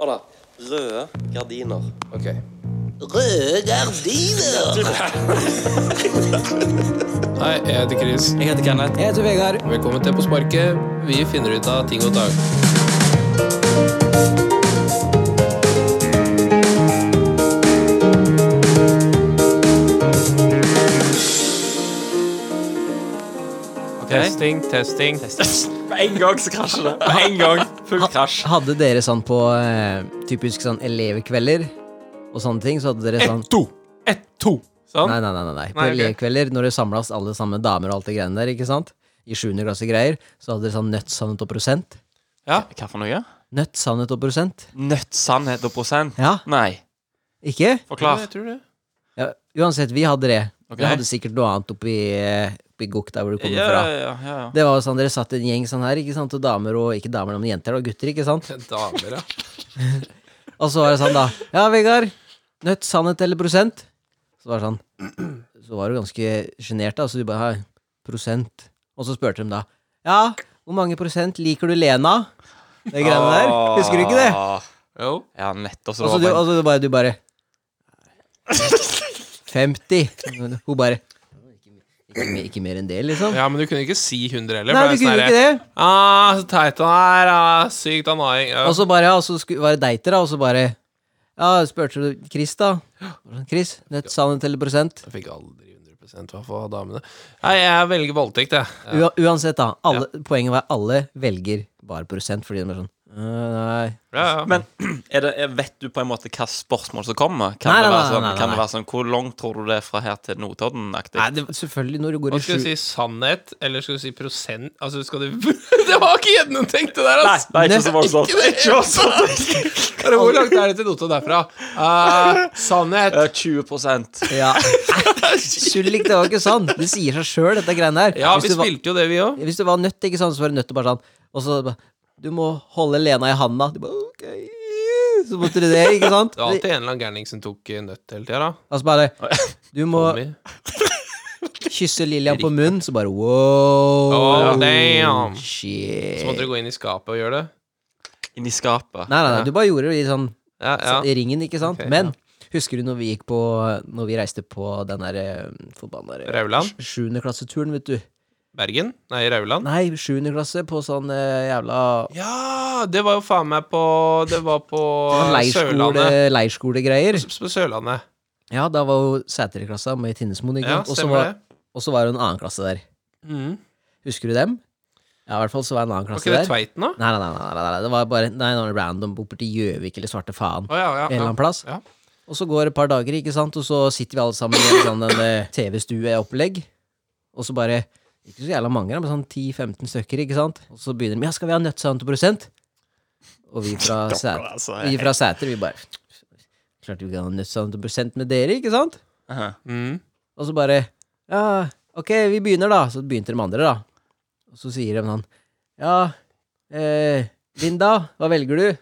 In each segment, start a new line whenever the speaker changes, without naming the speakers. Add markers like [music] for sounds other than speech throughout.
Hør da. Røde gardiner.
Ok.
Røde gardiner!
Hei, jeg heter Chris.
Jeg heter Kenneth.
Jeg heter Vegard.
Velkommen til På sparket. Vi finner ut av ting og tang. Testing, testing.
Med en gang så krasjer det. Med en gang. Full krasj.
Hadde dere sånn på eh, typisk sånn elevkvelder og sånne ting, så hadde dere sånn
to. Ett, to. Eh, Sånn.
Nei, nei, nei. nei, nei. På
Nei, ok.
elevkvelder, når det samlas alle sammen damer og alt det greiene der, ikke sant, i sjuende klasse greier, så hadde dere sånn nødt, sannhet og prosent.
Hva for noe?
Nødt, sannhet og prosent.
Nødt, sannhet og prosent.
Ja,
Nei.
ikke?
Forklar.
Jeg tror det.
Ja, uansett, vi hadde det.
Ok.
Dere hadde sikkert noe annet oppi, eh, oppi Gok, der hvor du kommer
Ja,
fra.
ja, ja, ja.
Det var jo sånn, Dere satt en gjeng sånn her, ikke sant, og damer og ikke damer, men jenter og gutter. ikke sant?
Damer, ja.
Og så var det sånn, da. Ja, Vegard. Nødt, sannhet eller prosent? Så var det sånn. Så var du ganske sjenert, da. Så du bare «Hei, Prosent. Og så spurte de da. Ja, hvor mange prosent liker du Lena? Det greiene der.
Ah,
Husker du ikke det?
Jo.
Ja, nettopp. Så
Og så
det
du,
var
og så du bare, du bare 50. Hun bare ikke, mer- ikke mer enn det, liksom.
Ja, men du kunne ikke si 100 heller.
Nei,
for det er
vi kunne
sånn
ikke
her,
det.
Ah, så teit han er. Ah, sykt annoying. Ja.
Og så bare, ja, og så sku- var det deiter, da, og så bare Ja, spurte du Chris, da? sånn, Chris, nødt, sannhet eller prosent?
Jeg fikk aldri 100 hva for damene. Nei, jeg velger voldtekt, jeg.
Ua- uansett, da. Alle, Poenget var alle velger bare prosent, fordi de er sånn «Øh, Nei.
Ja, ja.
Men er det, er- vet du på en måte hva spørsmål som kommer? Kan,
Nei,
det,
nei,
være
nei,
sånn,
nei, nei,
kan det
nei.
være sånn Hvor langt tror du det er fra her til Notodden-aktig?
nei det, selvfølgelig, når du går
Hva
i
skal du
sju
si? Sannhet? Eller skal du si prosent? Altså, skal du [laughs] Det var ikke gjennomtenkt, det der, altså!
nei,
Nei,
ikke så voldsomt. Ikke voldsomt.
Bare, Hvor langt er det til Notodden derfra? Eh, sannhet.
[laughs] Eh, 20
[laughs]
ja. Sullik, det var ikke sånn. Det sier seg sjøl, dette greiene her.
Ja, vi
hvis, du var,
spilte jo det, vi òg.
hvis du var nødt, ikke sant, så var du nødt til bare sånn Og så bare Du må holde Lena i handa. Du bare OK. Så måtte du det, ikke sant?
Det var alltid en eller annen gærning som tok eh, nøtt hele tida, da.
Altså bare Du må
Tommy.
kysse Lillian på munnen, så bare wow.
Oh, damn.
Shit.
Så måtte du gå inn i skapet og gjøre det.
Inn i skapet.
Nei, nei, nei, du bare gjorde det i sånn
Ja, ja.
Så- i ringen, ikke sant?
Ok,
Men husker du når vi gikk på Når vi reiste på den der eh, forbanna eh,
Rauland?
sj- Sjuende klasseturen, vet du.
Bergen? Nei, Rauland?
Nei, sjuende klasse på sånn eh, jævla
Ja, det var jo faen meg på Det var på
sånn leirskole,
Sørlandet.
leirskolegreier.
På Sørlandet.
Ja, da var jo Sæter-klassa med Tinnesmoen, ikke
Ja,
sant? Og så
stemmer
var-
det.
og så var det en annen klasse der.
Mm.
Husker du dem? Ja, i hvert fall så var det en annen
Var
klasse
ikke det
der.
Tveiten, da?
Nei, nei, nei, nei, nei, nei, det var bare Nei, det var random borti Gjøvik eller svarte faen.
Å, ja, ja,
en eller annen
ja.
plass. Og så går det et par dager, ikke sant, og så sitter vi alle sammen i en sånn en, eh, TV-stueopplegg, og så bare Ikke så jævla mange, da, men sånn 10-15 stykker, ikke sant? Og så begynner de Ja, skal vi ha nøttesant og prosent? Og vi fra Sæter, vi, fra Sæter, vi bare Klart vi kan ha nøttesant og prosent med dere, ikke sant?
Aha.
Mm. [laughs]
Og så bare Ja, ok, vi begynner, da. Så begynte de andre, da. Og så sier de sånn Ja, eh, Linda, hva velger du?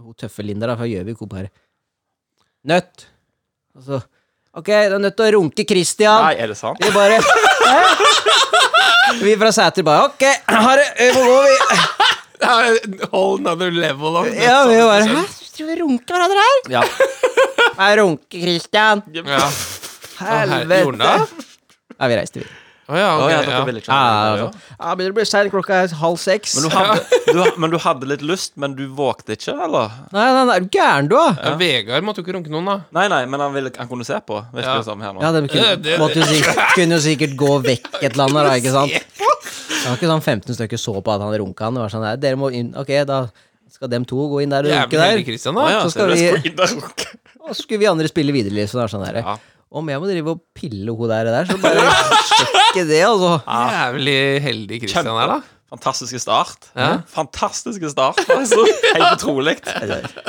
Hun tøffe Linda da, fra Gjøvik, hun bare Nøtt. Og så Ok, du er nødt til å runke Christian.
Nei, er det sant?
Vi bare Hæ? Vi fra Sæter bare Ok, ha det. eh, Hvor går vi?
Det er en whole another level of
Ja, vi bare Hæ? Tror vi runker hverandre her?
Ja.
Nei, runke Christian.
Ja. Jorda?
Helvete. Ja, vi reiste, vi.
Å ja,
Å,
ok.
ja, dere
ja.
ville ikke
Ja,
ha
ja,
det,
ja,
ja.
sånn. ja, men det blir seint, klokka er halv seks.
Men du, hadde, du, men du hadde litt lyst, men du vågte ikke, eller?
Nei, nei, nei, er du gæren du, da?
Ja, Vegard måtte jo ikke runke noen, da.
Nei, nei, men han, ville, han kunne se på. Virker
Ja.
det som her nå.
Ja, det kunne,
Det- det-
måtte jo sikkert, kunne jo sikkert gå vekk et eller annet, da, ikke
[laughs]
sant? Det var ikke sånn 15 stykker så på at han runka han. Det var sånn der, dere må inn, ok, da skal dem to gå inn der og runke
Jævlig heldig
der.
Christian,
Å,
da.
ja,
så skal
seriøst,
vi-
gå inn der og runke.
Og så skulle vi andre spille videre, liksom. Det var sånn der.
Ja.
Om jeg må drive og pille hun der, og der så bare sjekke det, altså.
Jævlig heldig Christian her, da.
Fantastiske start.
Ja.
Fantastiske start, altså. Helt utrolig.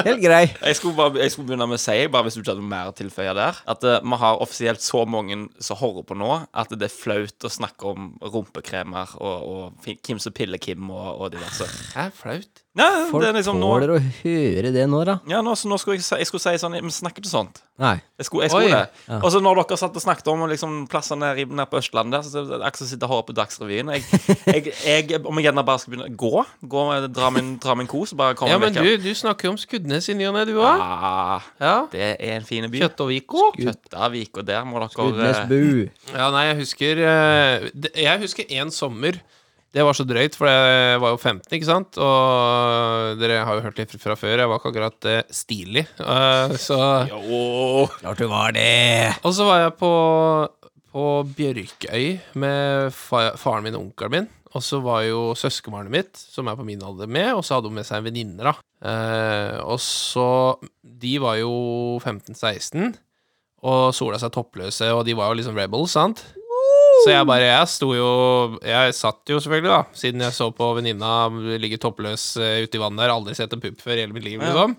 Helt grei.
Jeg skulle, bare, jeg skulle begynne med å si, bare hvis du ikke hadde mer å tilføye der, at eh, vi har offisielt så mange som hører på nå, at det er flaut å snakke om rumpekremer og, og fin- hvem som piller Kim og, og diverse.
Det er flaut.
Nei,
Folk
det er liksom nå
tåler å høre det nå, da.
Ja, nå, så nå skulle jeg, si- jeg skulle si sånn Vi snakker ikke sånt.
Nei.
Jeg skulle, jeg
Oi.
skulle det.
Ja.
Og så når dere satt og snakket om liksom, plasser nede, i- nede på Østlandet, så er det akkurat som å sitte og høre på Dagsrevyen. Jeg, jeg, jeg, om jeg gjerne bare skal begynne å gå, gå dra, min, dra min kos, bare komme
Ja, men
vekk
du,
igjen.
du snakker jo om Skudenes i ny og ne, du òg.
Ah,
Ja.
det er en fin by.
Kjøttoviko.
Kjøttavik, og der må dere eh,
Gudnes bu.
Ja, nei, jeg husker eh, det- Jeg husker en sommer Det var så drøyt, for jeg var jo 15, ikke sant? Og dere har jo hørt litt fra før Jeg var ikke akkurat eh, stilig Eh, så,
Jo.
Klart du var det.
Og så var jeg på, på Bjørkøy Med fa faren min og onkelen min Og så var jo søskenbarnet mitt Som er på min alder med Og så hadde hun med seg en venninne da Eh, Og så De var jo 15-16 Og sola seg toppløse Og de var jo liksom rebels, sant? Så jeg bare, jeg sto jo Jeg satt jo selvfølgelig da Siden jeg så på venninna ligge toppløs eh, ute i vannet der Aldri sett en pupp før i hele mitt liv liksom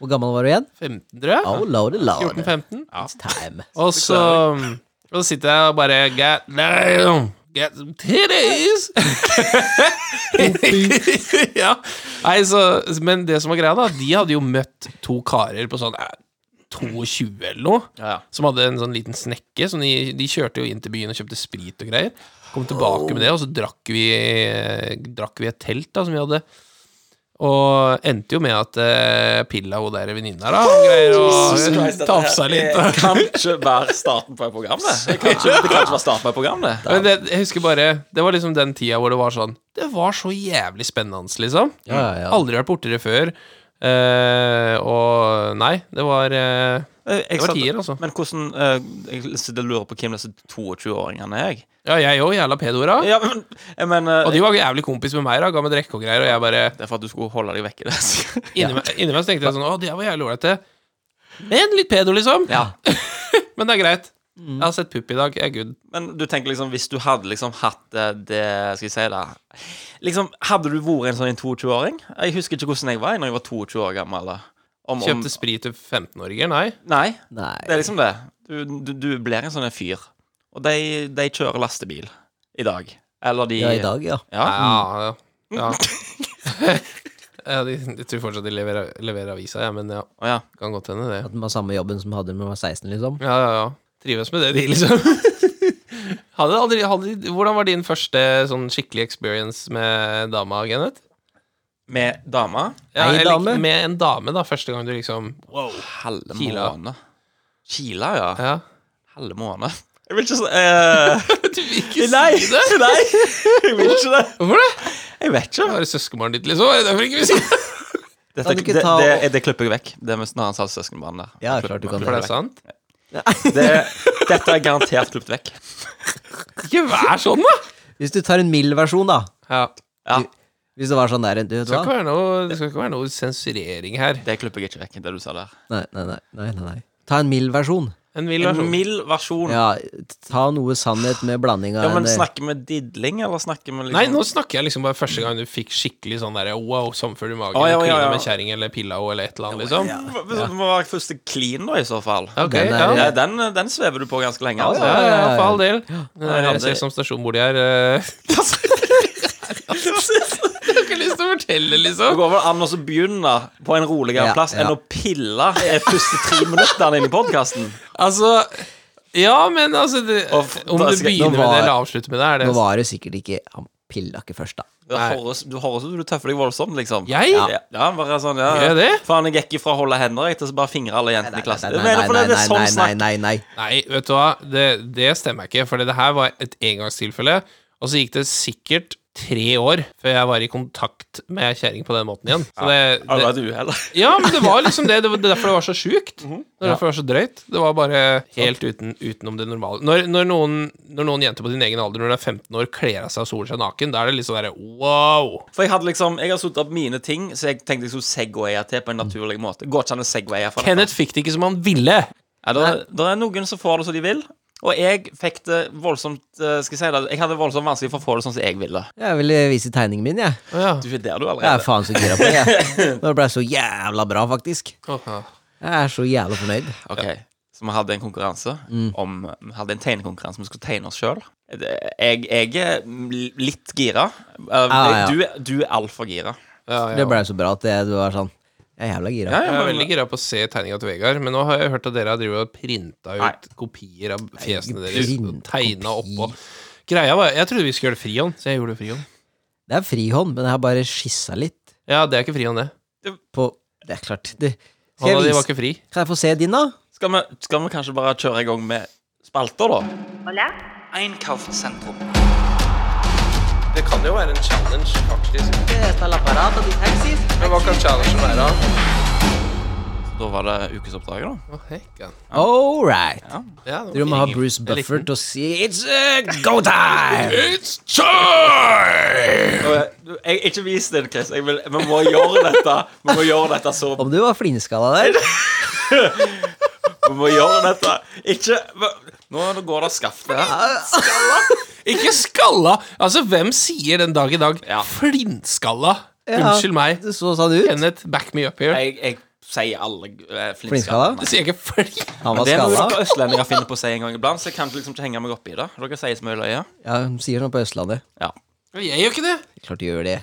Hvor gammel var du igjen?
15 tror jeg
Oh, lord, lord.
14-15
It's time.
Og så Og så sitter jeg og bare Get down Get some titties [laughs] ja. Nei, så Men det som var greia da De hadde jo møtt to karer på sånn eh, 22 eller noe
Ja, ja.
som hadde en sånn liten snekke. Som de, de kjørte jo inn til byen og kjøpte sprit og greier. Kom tilbake med det, og så drakk vi, drakk vi et telt da, som vi hadde. Og endte jo med at eh, Pilla, hun der venninna, da, og greier å tafsa litt.
Det kan ikke være starten på et program, det. Det kan ikke, det kan ikke være starten på et program, det.
[laughs] Men det, jeg husker bare Det var liksom den tida hvor det var sånn Det var så jævlig spennende, liksom.
Ja, ja, ja.
Aldri vært borti det før. Eh, og nei, det var eh,
Jeg,
Det var tier, altså.
Men hvordan eh, Jeg sitter og lurer på hvem disse 22-åringene er. jeg.
Ja, jeg òg, jævla pedoer, da.
Ja, men, jeg mener
Og de var jævlig kompis med meg, da. Ga meg drikke og greier, og jeg bare
Det er for at du skulle holde deg vekke. Det.
[laughs] Inni meg, inni meg så tenkte jeg sånn Å, det var jævlig ålreit, det. Men litt pedo, liksom.
Ja.
Men det er greit. Jeg har sett pupp i dag. Jeg er good.
Men du tenker liksom, hvis du hadde liksom hatt eh, det Skal jeg si det Liksom, Hadde du vært en sånn en 22-åring? Jeg husker ikke hvordan jeg var når jeg var 22 år gammel. da. Om, om,
Kjøpte sprit til 15-åringer? Nei.
nei, det
Nei.
er liksom det. Du, du, du blir en sånn en fyr. Og de, de kjører lastebil i dag. Eller de
Ja, i dag, ja.
Ja.
Ja, ja. ja [laughs] de, jeg tror fortsatt de leverer, leverer avisa, ja, men ja.
Å, ja.
Kan godt hende, det.
At den var samme jobben som hadde når man var 16, liksom.
Ja, ja, ja. Trives med det, de, liksom. [laughs] Hadde aldri, hadde, hvordan var din første sånn skikkelig experience med dama, Kenneth?
Med dame.
Ja,
Ei
eller
dame?
Med en dame, da. Første gang du liksom
Wow. Halve
Kila.
måned. Kila, ja.
Ja.
Halve måned. Jeg vil ikke så eh,
Du vil [laughs] ikke
Nei!
si det?
Nei, jeg vil ikke det.
Hvorfor det?
Jeg vet ikke.
Var det søskenbarnet ditt, liksom? Er det derfor ikke vil si det?
Dette,
Kan du
det,
ikke
det,
ta
det, klipper jeg vekk. Det er sånn mest når han sa søskenbarn der.
Ja, klart du kan
For det
det.
er sant?
Det, dette er garantert klippet vekk.
Ikke vær sånn, da!
Hvis du tar en mild versjon, da.
Ja,
Ja,
Hvis det var sånn der du vet
det, skal
hva?
ikke være noe, det skal ikke være noe sensurering her.
det klipper jeg ikke vekk, det du sa der.
Nei, nei, nei. nei, nei, nei. Ta en mild versjon.
En vill
En
versjon.
mild versjon. Ja,
Ja, ta noe sannhet med blanding av
men
en- eh,
snakker vi didling, eller snakker vi
Nei,
liksom
nå snakker jeg liksom bare første gang du fikk skikkelig sånn derre wow, samfunn i magen,
Å, ja,
klina
ja, ja.
med kjerring eller pilla og eller et eller annet, liksom.
Hva- hva- Det må være første clean, da, i så fall.
Ok,
Den er-
ja.
Ja, den, den svever du på ganske lenge.
Ja,
Altså. [laughs]
Ja, ja,
ja, ja.
for all del.
jeg
Eh,
hadde-
Sesam stasjon hvor de er eh, [laughs] Jeg har ikke lyst til å fortelle,
Det
liksom.
går vel an å så begynne på en roligere
Ja,
plass enn
ja.
å pille de første tre minuttene inn i podkasten.
Altså Ja, men altså det,
Og f-
Om
da
du
skal-
begynner
nå
med det
var-
eller avslutter med det, er
Nå
det
var det sikkert ikke Han pilla ikke først, da.
Du høres du høres ut som du tøffer deg voldsomt, liksom.
Jeg?
Ja, ja bare sånn, ja.
Gjør jeg det?
Faen, jeg gikk ifra å holde hender jeg, til så bare fingre alle jentene i klassen.
Nei,
Jeg mener, for det- det er sånn
nei, nei,
snakk.
nei, nei.
Nei, vet du hva, det, det stemmer ikke, for det her var et engangstilfelle. Og så gikk det sikkert tre år før jeg var i kontakt med ei kjerring på den måten igjen. Så det,
Har du
det,
vært uhell?
ja, men det var liksom det. Det var derfor det var så sjukt. Det var derfor det var så drøyt. Det var bare helt uten, utenom det normale. Når, når, noen, når noen jenter på din egen alder, når de er 15 år, kler av seg og soler seg naken, da er det litt sånn derre wow.
For jeg hadde liksom Jeg har satt opp mine ting, så jeg tenkte jeg skulle segwaye til på en naturlig måte. Går ikke an å segwaye fra
Kenneth fikk det ikke som han ville.
Ja, det, er noen som får det som de vil, og jeg fikk det voldsomt eh, Skal jeg si det Jeg hadde voldsomt vanskelig for å få det sånn som jeg ville.
Jeg ville vise tegningen min, jeg.
Ja.
Du er der, du,
Jeg er
allerede.
faen så gira på
[laughs]
det. jeg. Når det ble så jævla bra, faktisk.
Åh.
Jeg er så jævla fornøyd.
Ok, Så vi hadde en konkurranse
Mm.
om Vi hadde en tegnekonkurranse. Vi skulle tegne oss sjøl. Jeg, jeg er litt gira. Eh,
Ah, Ja, ja.
Du, du er altfor gira.
Ja, ja.
Det blei så bra at det, du var sånn Jeg er jævla gira.
Ja,
Jeg
ja,
er
men,
veldig gira på å se tegninga til Vegard, men nå har jeg hørt at dere har drivet og printa ut
Nei.
kopier av fjesene deres.
print
og Tegna
kopi.
oppå. Greia var, Jeg trodde vi skulle gjøre det frihånd, så jeg gjorde det frihånd.
Det er frihånd, men jeg har bare skissa litt
Ja, det er ikke frihånd, det.
på Det er klart. Det,
Han
skal jeg
de var
vise?
ikke fri.
Kan jeg få se din, da?
skal, vi, skal vi kanskje bare kjøre i gang med spalter, da?
Hola.
Einkaufszentrum.
Det kan jo være en challenge, faktisk. Men hva kan challengen være?
Da var det ukesoppdraget, da.
All right.
Ja,
Du må ha
Jeg
Bruce
likte
Buffer
den.
til å si It's uh, go time!
[laughs]
It's time!
Jeg, Eh, jeg, ikke vis den, Chris. Jeg vil, vi må gjøre dette Vi må gjøre dette så
Om du var flinskalla der.
Vi må gjøre dette Ikke Nå går det skaft her.
Ikke skalla! Altså, hvem sier den dag i dag
Ja.
flintskalla?
Ja,
Unnskyld meg.
Det så sånn ut.
Kenneth, back me up here.
Jeg, jeg sier alle eh,
Flintskalla?
Du sier ikke flint...
Han
Men
var
Det er noe
skalla.
dere østlendinger finner på å si en gang iblant, så jeg kan liksom ikke henge meg opp i det. Dere sier så mye løye.
Ja, de sier sånn på Østlandet.
Ja.
Jeg gjør ikke det.
Klart de gjør det.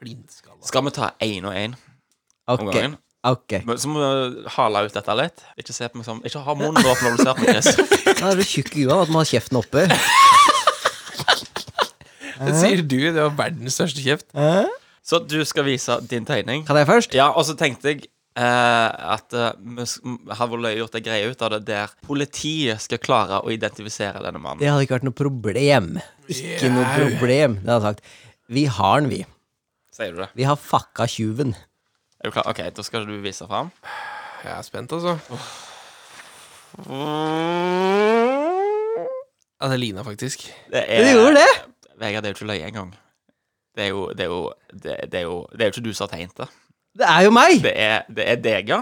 Flintskalla.
Skal vi ta én og én om
Ok.
gangen?
ok
Men Så må vi hale ut dette litt. Ikke se på meg sånn Ikke ha munnen åpen når du ser på meg. Chris.
Da er du tjukk i huet av at man har kjeften oppe.
Det sier du. Det var verdens største kjeft.
Så du skal vise din tegning.
Kan jeg først?
Ja, og så tenkte jeg eh, at eh, vi s- m- hadde vært løye gjort en greie ut av det der politiet skal klare å identifisere denne mannen.
Det hadde ikke vært noe problem. Ikke noe
Jau.
problem. Det hadde jeg sagt. Vi har den, vi.
Sier du det?
Vi har fucka tjuven.
Er du klar? OK, da skal du vise fram.
Jeg er spent, altså. Ja, det ligna faktisk.
Det
Du gjorde det!
Vegard, det er jo ikke løye engang. Det er jo Det er jo Det, det, er, jo, det er jo ikke du som har tegnet det.
Det er jo meg!
Det er, det er deg, ja.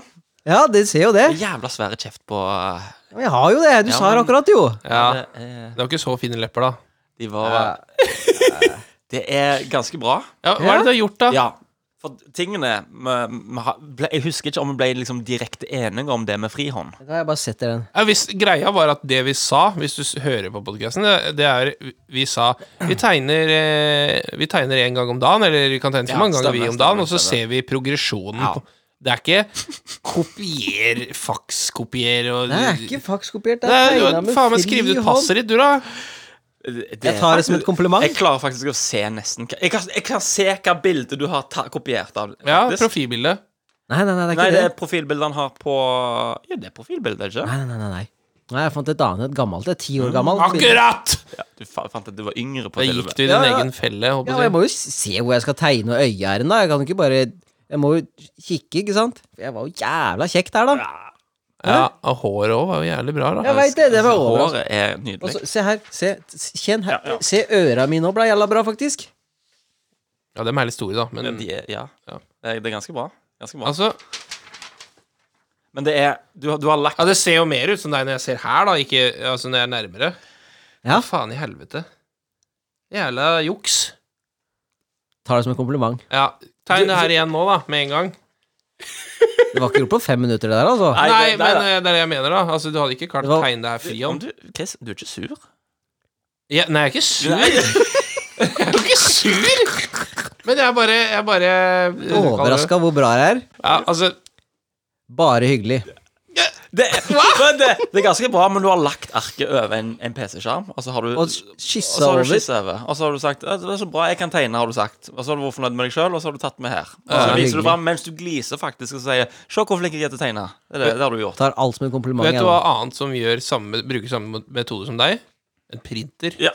Ja, det ser jo det.
En Jævla svære kjeft på eh,
Men jeg har jo det. Du
Ja,
sa det
men-
akkurat, jo.
Ja,
det er-
Det var ikke så fine lepper, da.
De var [laughs] Det er ganske bra.
Ja, hva er det du har gjort, da?
Ja. For tingene vi- vi har- ble, Jeg husker ikke om vi ble liksom direkte enige om det med frihånd.
Da har jeg bare sett den.
Ja, hvis, greia var at det vi sa, hvis du s- hører på podkasten, det, det er vi- Vi sa vi tegner eh, Vi tegner én gang om dagen, eller vi kan tegne så
Ja,
mange ganger
stemmer,
vi om
stemmer,
dagen, og så
stemmer.
ser vi progresjonen.
Ja.
På, det er ikke kopier, fakskopier og
Det er ikke fakskopiert.
Det
Det er
er- du
tegna
har
med
faen meg skrevet
fri
ut
hånd.
passet ditt, du, da.
Jeg tar det som et kompliment.
Jeg klarer faktisk å se nesten hva- Jeg kan, jeg kan se hva bildet du har ta, kopiert av.
Ja,
faktisk.
profilbilde.
Nei, nei, nei, det er
Nei, det
ikke det.
er profilbildet han har på Ja, det er profilbildet, ikke
Nei, nei, nei, nei. Nei, jeg fant et annet, et gammelt, et ti år gammelt. bilde.
Mm, Akkurat!
Du fa fant at du var yngre på
Da
til og
gikk
med.
du i din
Ja, ja.
egen felle,
Ja,
håper
og jeg
jeg.
må jo se hvor jeg skal tegne og øye her en da. Jeg kan jo ikke bare Jeg må jo kikke, ikke sant? For jeg var jo jævla kjekk der, da.
Ja, og håret òg var jo jævlig bra, da.
Jeg veit det. Det var overraskende.
Altså, Håret er nydelig.
Og så- se her. Se, kjenn her. Se øra mine òg ble jævla bra, faktisk.
Ja, dem er litt store, da, men
Ja, de er, ja.
Ja.
Det, er, det er ganske bra. Ganske bra.
altså
Men det er Du, har- du har lagt
Ja, det ser jo mer ut som deg når jeg ser her, da, ikke altså når jeg er nærmere.
Ja.
Hva faen i helvete? Jævla juks.
Tar det som en kompliment.
Ja, tegn det her igjen nå, da, med en gang.
Det var ikke gjort på fem minutter, det der, altså.
Nei,
Nei,
det-
men
nei, da.
eh, det er det jeg mener, da. Altså, du hadde ikke klart
Det
å
var-
tegne det her
om
frihånd.
du, Chris, du er ikke sur?
Ja, nei, jeg er ikke sur.
[laughs]
Jeg er jo ikke sur! Men jeg er bare Jeg er bare eh,
Overraska hvor bra jeg er.
Ja, altså
Bare hyggelig.
Det, er- men det, det er ganske bra, men du har lagt arket over en, en PC-skjerm, og så har du
Og
og
kyssa
så har du
over.
skissa over. Og så har du sagt «Ja, 'Det er så bra, jeg kan tegne', har du sagt. Og så har du vært fornøyd med deg sjøl, og så har du tatt med her. Og så
Ja,
viser
hyggelig.
du fram mens du gliser faktisk og sier 'Se hvor flink jeg er til å tegne'. Det, er det, det har du gjort.
Tar alt som en kompliment.
Vet
jeg,
du
da.
hva annet som gjør samme, bruker samme metode som deg? En printer.
Ja.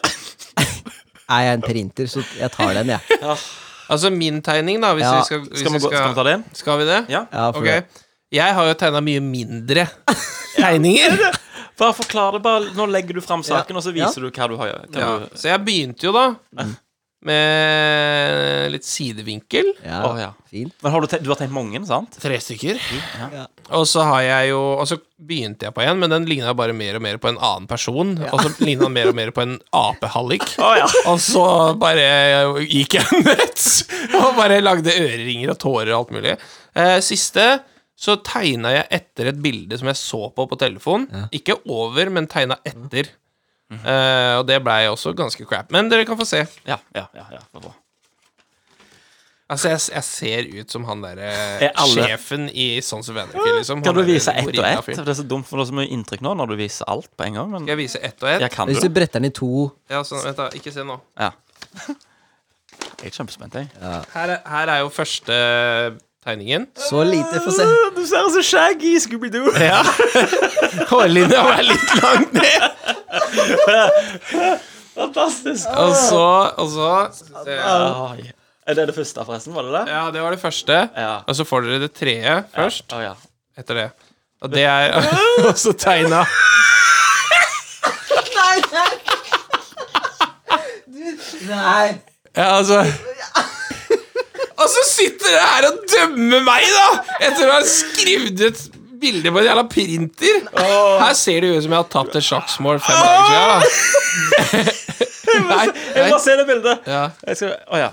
Er jeg en printer, så jeg tar den, jeg.
Altså min tegning, da, hvis
Ja.
vi skal hvis
Skal vi, gå, skal vi ta det inn?
Skal vi det?
Ja.
Ja, for
Ok.
det.
Jeg har jo tegna mye
[laughs]
mindre tegninger.
Bare forklar det. bare Nå legger du fram saken, og så
Ja.
viser du hva du har gjort.
Ja. Så jeg begynte jo da med litt sidevinkel.
Å, ja.
Ja, fint.
Men har du, te du har tenkt mange, sant?
Tre stykker.
Ja.
Og så har jeg jo Og så begynte jeg på en, men den ligna bare mer og mer på en annen person. Og så ligna den mer og mer på en apehallik.
[laughs] Å, ja.
Og så bare gikk jeg [laughs] nuts og bare lagde øreringer og tårer og alt mulig. Eh, siste så tegna jeg etter et bilde som jeg så på på telefon. Ikke over, men tegna etter. Eh, og det blei også ganske crap. Men dere kan få se.
Ja, ja, ja, ja, det var bra.
Altså, jeg, jeg ser ut som han derre
Er alle-
sjefen i Sons of Anarchy, liksom.
Kan
Han
du
derre
vise ett og ett?
gorillafyren.
For Det er så dumt, for det er så mye inntrykk nå når du viser alt på en gang. Men
Skal jeg vise ett og ett?
jeg kan du
Hvis du
det.
bretter den i to
Ja, sånn, vent, da. Ikke se nå.
Ja. Jeg er kjempespent, jeg.
Her er, her er jo første tegningen.
Så lite, få se.
Du ser så shaggy
[laughs]
Scooby-Doo. Ja.
Hårlinja var litt langt ned.
Fantastisk.
Og så, og så skal vi se.
Oi. Er det det første, forresten? Var det det?
Ja, det var det første.
Ja.
Og så får dere det tredje først.
Å, ja.
Etter det. Og det
[laughs]
er også tegna
Nei.
Ja, altså [laughs] Og så sitter dere her og dømmer meg, da! Etter å ha skrevet ut bilde på en jævla printer. Her ser det jo ut som jeg har tapt et sjakksmål fem ganger siden. da. Nei,
Jeg må
nei.
se det bildet.
Ja.
Jeg skal Å ja.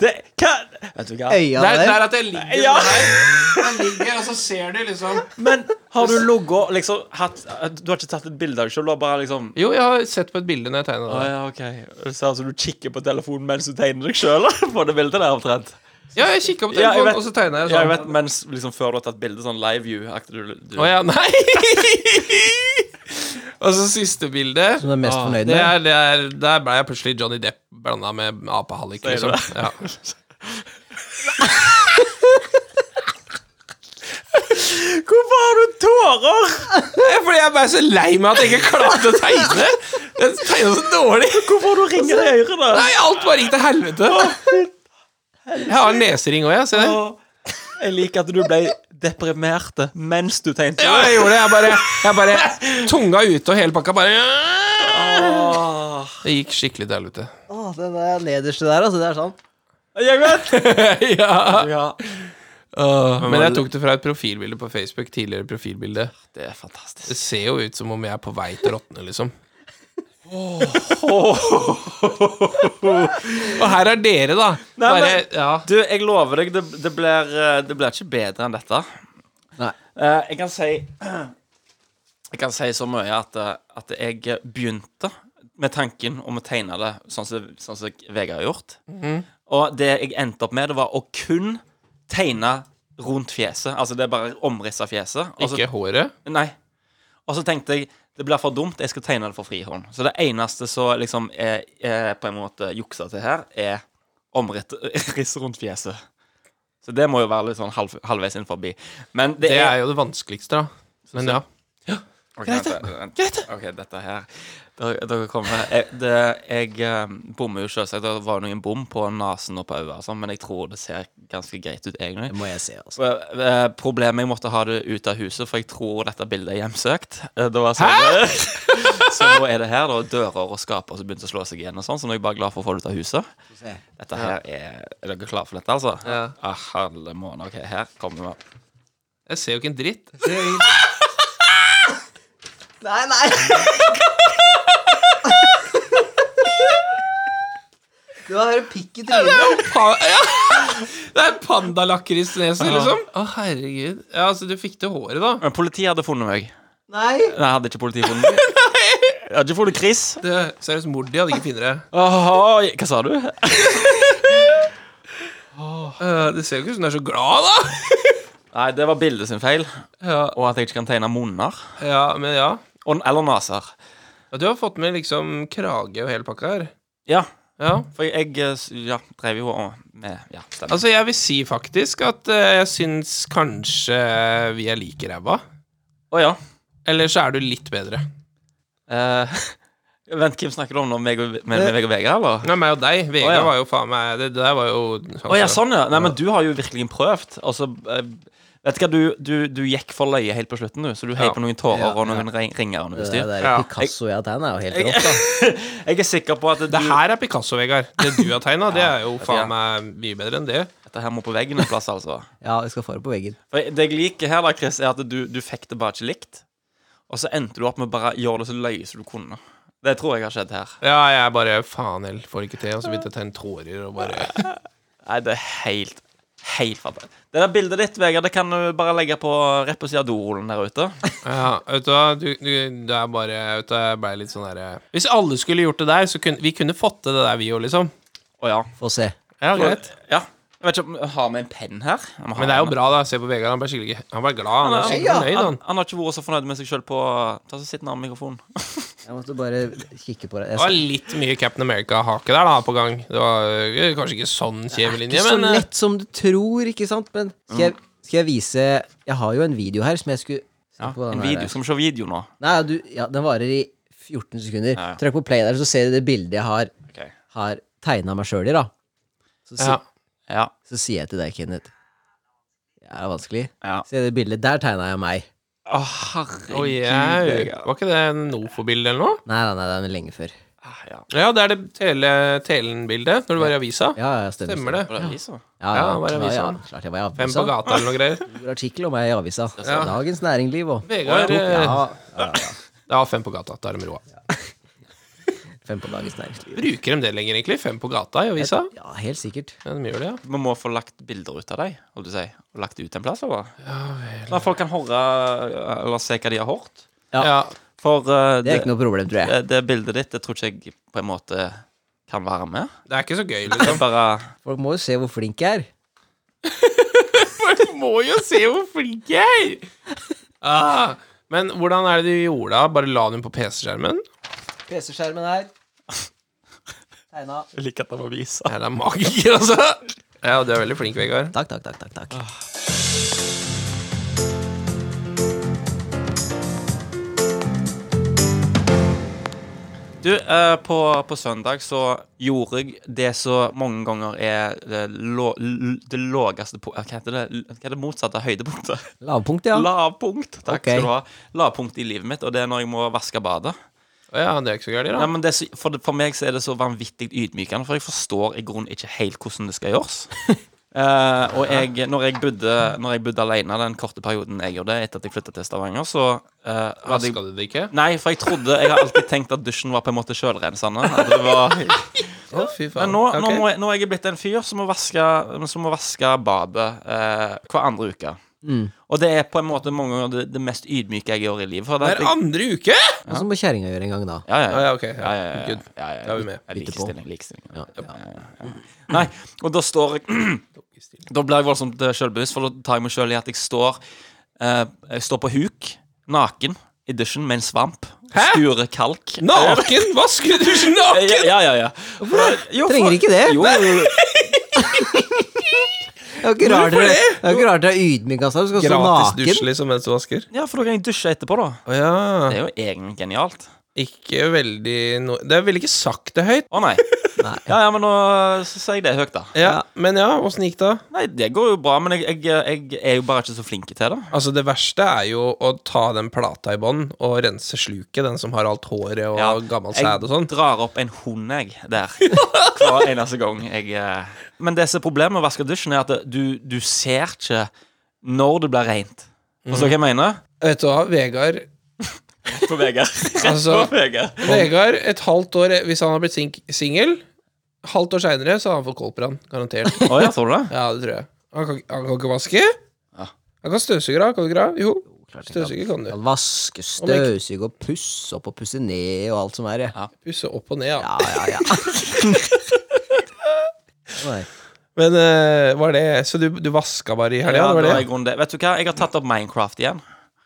Det Hva Vet du hva?
Det
Øya
er, det
der.
er at jeg ligger
Ja.
med deg. Jeg ligger, og så ser du liksom
Men har du ligget og liksom hatt Du har ikke tatt et bilde av deg sjøl? Du har bare liksom
Jo, jeg har sett på et bilde når jeg tegna
Å
det.
ja, OK. Det ser ut som du kikker på telefonen mens du tegner deg sjøl på det bildet der, omtrent.
Ja, jeg kikka på
Ja, jeg
telefonen,
vet-
og så tegna jeg
Ja, jeg vet,
sånn.
mens liksom før du har tatt bilde, sånn live view-aktig du, du
Å ja, nei! [laughs] Og så siste bilde.
Som du er mest
Ah,
fornøyd
Det
med.
er, det er, der ble jeg plutselig Johnny Depp blanda med apehallik,
Sier du
liksom. Ja.
Hvorfor har du tårer?!
Det er Fordi jeg ble så lei meg at jeg ikke klarte å tegne. Jeg tegna så dårlig.
Hvorfor har du ringer i øret, da?
Nei, alt bare gikk til helvete. Jeg har en nesering òg, jeg. Se det.
Å, Jeg liker at du ble deprimert mens du tegnte.
Ja, jeg gjorde det. Jeg bare, jeg bare Tunga ute og hele pakka bare
Åh.
Det gikk skikkelig til helvete.
Å, den der nederste der, altså. Det er sånn.
Jeg vet!
Ja.
[laughs] [laughs] Ja.
Åh, Men jeg tok det fra et profilbilde på Facebook. Tidligere profilbilde.
Det er fantastisk.
Det ser jo ut som om jeg er på vei til å råtne, liksom. Og her er dere, da.
Nei,
Bare,
men-
ja.
Du, jeg lover deg, det, det, blir, eh, det blir ikke bedre enn dette.
Nei.
Eh, jeg kan si [clears throat] Jeg kan si så mye at, eh, at jeg begynte med tanken om å tegne det sånn som, sånn som Vegard har gjort. Og det jeg endte opp med, det var å kun tegne rundt fjeset. Altså det er bare omriss av fjeset. Og så-
Ikke håret.
Nei. Og så tenkte jeg det blir for dumt, jeg skal tegne det for frihånd. Så det eneste som liksom er, er på en måte juksa til her, er [laughs] omriss rundt fjeset. Så det må jo være litt sånn halv, halvveis inn forbi. Men det,
Det
er,
er jo det vanskeligste, da. Men ja.
Ok, vent, vent. Ok, dette her Dere, dere kommer jeg, det, jeg eh, bommer jo selvsagt. Det var jo noen bom på nesen og på øyet, og sånn, men jeg tror det ser ganske greit ut egentlig.
Det må jeg se, altså.
Eh, eh, Problemet jeg måtte ha det ut av huset, for jeg tror dette bildet er hjemsøkt. Eh, Det var sånn, [laughs] så nå er det her, da. Dører og skaper som begynte å slå seg igjen, og sånn, så nå er jeg bare glad for å få det ut av huset. Dette her er Er dere klare for dette, altså?
Ja.
Ah, halve måned. Ok, her kommer vi.
Jeg ser jo ikke en dritt.
Nei, nei. Du har en pikk i trynet.
Pa [laughs] ja. Det er pandalakrisnese, liksom. Å, herregud. Ja, altså, du fikk til håret, da.
Men politiet hadde funnet meg.
Nei.
Nei, hadde ikke politiet funnet [laughs] meg? Jeg hadde ikke funnet Chris.
Det, seriøst, Mordi hadde ikke funnet det.
Åh, hva sa du? Nei,
Eh, det ser jo ikke ut som du er så glad, da. [laughs]
det var bildet sin feil.
Ja,
Og at jeg ikke kan tegne munner.
ja men ja.
Og- Eller naser.
Ja, Du har fått med liksom krage og hele pakka her.
Ja.
Ja.
For jeg eh, s- ja, drev jo og med Ja, stemmer.
Altså, jeg vil si faktisk at eh, jeg syns kanskje vi er like ræva.
Å ja.
Eller så er du litt bedre.
Eh, [laughs] vent, hvem snakker du om nå? Meg og, med, med meg og Vegard, eller?
Nei, meg og deg. Vegard
Å, ja.
var jo faen meg Det der var jo altså,
Å ja, sånn, ja. Nei, men du har jo virkelig prøvd. Altså, eh, vet du hva, du, du, du gikk for løye helt på slutten, du. Så du heiv
Ja.
på noen tårer
Ja,
og noen ring- ringer og noe
Det
styr.
der
Ja.
Picasso jeg har tegnet er jo helt rått.
[laughs] Jeg er sikker på at du,
Det her er Picasso, Vegard. Det du har tegna, det er jo
[laughs] ja.
faen meg mye bedre enn det.
dette her må på veggen en plass, altså.
Ja, vi skal få det på veggen.
For det jeg liker her, da, Chris, er at du, du fikk det bare ikke likt. Og så endte du opp med å bare gjøre det så løye som du kunne. Det tror jeg har skjedd her.
Ja, jeg er bare faen heller får ikke til. Og så begynte jeg å tegne tårer og bare
Nei, det er helt Helt fantastisk. Det der bildet ditt, Vegard, det kan du bare legge på rett på siden av dorullen der ute.
Ja, vet du hva, du, du det er bare Vet du, jeg ble litt sånn herre Hvis alle skulle gjort det der, så kunne vi kunne fått til det der, vi òg, liksom.
Å ja.
Få se.
Ja, greit.
Ja. Jeg vet ikke om Har vi en penn her? Jeg må ha
Men det er jo
en.
bra, da. Se på Vegard. Han ble skikkelig Han ble glad. Han ble
Han er-
skikkelig fornøyd,
Han,
han.
han har ikke vært så fornøyd med seg sjøl på Ta så Sitt nærme mikrofonen.
Jeg måtte bare kikke på det.
Det
Jeg
var litt mye Captain America-hake der da på gang. Det var eh, kanskje ikke sånn
ikke
kjevelinje,
så
men eh, Mm.
lett som du tror, ikke sant? Men skal jeg, skal jeg vise Jeg har jo en video her som jeg skulle se
Ja,
på. Den
en
her.
video. Skal vi se video nå?
Nei, du, ja, den varer i 14 sekunder.
Ja.
Trykk på play der, så ser du det bildet jeg har,
Ok.
har tegna meg sjøl i, da. Så, si,
ja.
Ja.
så sier jeg til deg, Kenneth Det er vanskelig.
ja.
Se det bildet. Der tegna jeg meg.
Å, herregud.
Oi, jeg,
Vegard.
var ikke det en Nofo-bilde eller noe?
Nei, nei, nei, det er lenge før.
Ah, Ja.
Ja, det er det tele, Telen-bildet når du var i avisa.
Ja, ja, stemmer.
Stemmer det.
Var det avisa?
Ja,
Ja, var i
klart-
avisa.
ja, klart jeg var i
Fem på
avisa.
gata eller noe greier.
Stor artikkel om meg i avisa. Altså,
Ja.
Dagens Næringsliv og
Vegard eh,
ja,
Ja, fem på gata. Da er de roa.
Fem på Dagens Næringsliv.
Bruker de det lenger, egentlig? Fem på gata i avisa?
Ja, helt sikkert.
Ja, de gjør det, ja.
Vi må få lagt bilder ut av deg, holdt du å si. Og lagt det ut en plass, eller? Sånn at folk kan høre eller se hva de har hørt.
Ja.
ja.
For eh,
Det er ikke noe problem, tror jeg.
det, det bildet ditt, det tror ikke jeg på en måte kan være med.
Det er ikke så gøy,
Det er
liksom. [laughs]
bare
Folk må jo se hvor flink jeg er.
Du må jo se hvor flink jeg er! Ah, men hvordan er det du gjorde da? Bare la den på PC-skjermen?
PC-skjermen her. Tegna.
Jeg liker at han må vise.
Ja, det er magiker, altså. Ja, du er veldig flink, Vegard.
Takk, takk, takk. takk, takk.
Du, eh, på, på søndag så gjorde jeg det som mange ganger er det, lå, l- det lågeste po- eh, Hva heter det? L- Hva er det motsatte av høydepunktet?
Lavpunkt, ja.
[laughs] Lavpunkt. Takk
Ok.
skal du ha. Lavpunkt i livet mitt, og det er når jeg må vaske badet.
Å Ja, det er ikke så gærent,
Nei,
da.
men det er så, for, for meg så er det så vanvittig ydmykende, for jeg forstår i grunnen ikke helt hvordan det skal
[laughs]
gjøres. Eh, og jeg, når, jeg bodde, når jeg bodde alene den korte perioden jeg gjorde det, etter at jeg flytta til Stavanger, så eh, hadde jeg
Vaska du det ikke?
Nei, for jeg trodde Jeg har alltid tenkt at dusjen var på en måte sjølrensende. at det
[laughs]
var-
Å, fy
Men
faen.
nå, nå,
Ok.
må jeg, nå er jeg blitt en fyr som må vaske, som må vaske badet eh, hver andre uke.
Mm.
Og det er på en måte mange ganger det, det mest ydmyke jeg gjør i livet. For det,
Hver
jeg,
andre uke?!
Og så må kjerringa gjøre en gang, da.
ja, ja,
Ja,
ja.
ja, ok. Ja,
Ja, ja, ja.
Good.
Ja, ja, ja.
Da er vi med.
Ja,
Bytte på.
Likestilling. likestilling.
Ja, ja.
Nei, og da står jeg Da blir jeg voldsomt eh, selvbevisst, for da tar jeg meg selv i at jeg står eh, Jeg står på huk, naken, i dusjen med en svamp.
Hæ?
Skurer kalk.
Naken! Vasker [laughs] du ikke naken?!
Ja, ja, ja. ja. Jo, for-
Trenger ikke det.
Jo, jo, jo.
Det er jo ikke rart dere- det er jo ikke rart dere er ydmyka seg. Du skal stå
Gratis dusj,
naken.
liksom, mens du vasker.
ja, for da kan jeg dusje etterpå, da.
Å ja.
Det er jo egentlig genialt.
Ikke veldig no... Det ville ikke sagt det høyt. [laughs]
Å nei. Ja, ja, men nå så sier jeg det høyt, da.
Ja, Men ja, åssen gikk det?
Nei, det går jo bra, men jeg, jeg, jeg er jo bare ikke så flink til det.
Altså, det verste er jo å ta den plata i bånn og rense sluket, den som har alt håret og
Ja,
gammel
jeg
sæd og sånn.
drar opp en hund, jeg,
[laughs]
der. Hver eneste gang jeg eh. Men det som er problemet med å vaske dusjen, er at det- du, du ser ikke når det blir rent.
Mhm.
Forstår du hva jeg mener?
Vet du hva, Vegard
På [laughs] Vegard.
Altså,
På Vegard.
Vegard, et halvt år Hvis han har blitt sing- singel, halvt år seinere, så har han fått koldbrann. Garantert.
Å ja, tror du det?
Ja, det tror jeg. Han kan, han kan ikke vaske.
Ja.
Han kan støvsuge, da. Kan du ikke det? Jo,
klart jeg
støvsuge kan du.
Skal Vaske, støvsuge og pusse opp og pusse ned og alt som er. Ja,
Pusse opp og ned, ja.
ja, ja. [laughs] ja. Nei.
Men eh, var det Så du, du vaska bare i helga?
Ja,
det
da
var
er
det?
jeg rundt det. Vet du hva, jeg har tatt opp Minecraft igjen.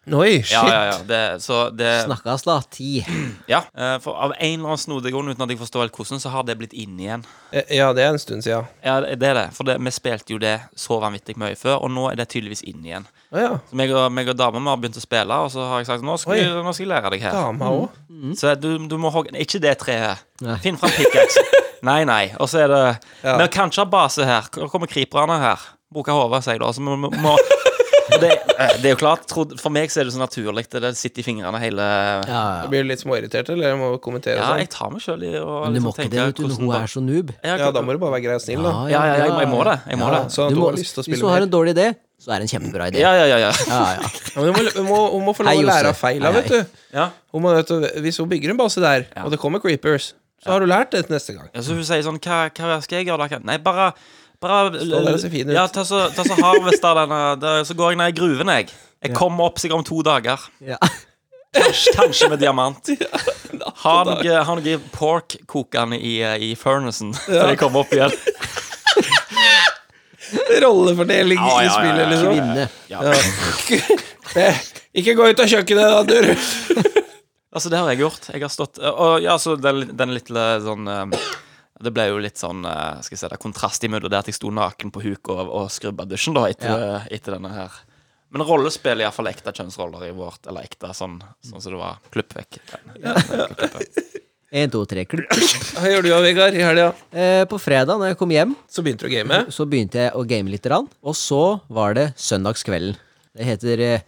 Oi, shit.
Ja, ja, ja. Det, så det
Snakkes, da. Ti.
Ja. eh, For av en eller annen snodig grunn, uten at jeg forstår helt hvordan, så har det blitt inn igjen.
Eh, ja, det er en stund sia.
Ja, det det er det. For det, vi spilte jo det så vanvittig mye før, og nå er det tydeligvis inn igjen.
Å ja.
Så meg og, meg og dama vi har begynt å spille, og så har jeg sagt nå skal,
Oi.
jeg, nå skal jeg lære deg her.
Dama òg.
Så du, du må hogge Ikke det treet.
Nei.
Finn fram [laughs] pickaxen. nei, nei. Og så er det
Ja.
Vi kan ikke ha base her. Nå kommer creeperne her. Bruke hodet, sier jeg da. Så vi må, må og det, eh, det er jo klart, tro- For meg så er det så naturlig. Det det sitter i fingrene hele
Ja, ja.
Blir du litt småirritert, eller? Jeg må kommentere
Ja,
sånn.
jeg tar meg sjøl i å
Men du må ikke det, vet du, når hun er så noob.
ja,
Ja, da må du bare være grei og snill, da.
ja, ja, jeg, jeg må det. Jeg må
Ja,
det.
Sånn at
du
hun
må,
har lyst til å
hvis
spille
du har
mer.
en dårlig idé, så er det en kjempebra idé.
Ja, ja, ja. ja.
Ja, ja.
Ja, men hun, må, hun, må, hun må få lov
Hei,
å lære av
Josef.
feila,
Hei,
vet du.
ja.
Hun må, vet du. Hvis hun bygger en base der, og det kommer creepers, så har du lært det til neste gang.
Ja, så hun sier sånn Hva, hva skal jeg gjøre? da? Nei, bare bare
der og se fin ut.
Ja, ta så, ta så harvest av denne da- Så går jeg ned i gruven, jeg. Jeg kommer opp sikkert om to dager.
Ja.
Kanskje, kanskje med diamant. Ha eh, noe, ha noe pork kokende i, i furnacen til jeg kommer opp igjen.
[laughs] rollefordeling
Ja,
i
ja, ja,
spillet,
ja.
liksom.
Kvinne.
[laughs] Eh, Ikke gå ut av kjøkkenet, da, du!
Altså, det har jeg gjort. Jeg har stått Og ja, så den, den lille sånn eh, Det ble jo litt sånn eh, Skal jeg si det, kontrast imellom det at jeg sto naken på huk og, og skrubba dusjen, da, etter, eh, etter denne her. Men rollespill er iallfall ekte kjønnsroller i vårt Eller ekte sånn Sånn som det var. Klipp vekk. den. Klipp vekk.
En, to, tre, klipp.
Hva gjør du da, Vegard, i helga?
Eh, på fredag når jeg kom hjem,
Så begynte du å game.
så begynte jeg å game litt. Rann, og så var det søndagskvelden. Det heter eh,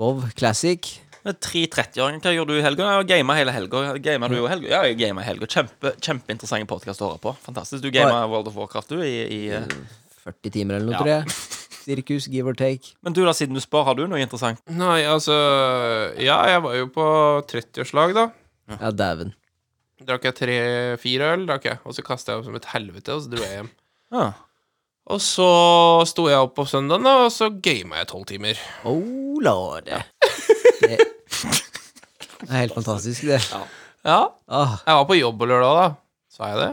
WoW Classic.
Men Tre 30-åringer, hva gjorde du i helga? Jeg Gama hele helga. Gama du i helga? Ja, jeg gama i helga. Kjempe, kjempeinteressant podkast å høre på. Fantastisk. Du gama World of Warcraft, du, i, i eh,
40 timer eller noe,
Ja.
tror jeg. Sirkus, give or take.
Men du, da, siden du spør, har du noe interessant?
Nei, altså Ja, jeg var jo på 30-årslag, da.
Ja, dæven.
Drakk jeg tre-fire øl, drakk jeg. og så kasta jeg opp som et helvete, og så dro jeg hjem.
Ja.
Og så sto jeg opp på søndagen, da, og så gama jeg tolv timer.
Oh lord. Det det er helt fantastisk, det.
Ja,
Ah,
Jeg var på jobb på lørdag, da. Sa jeg det?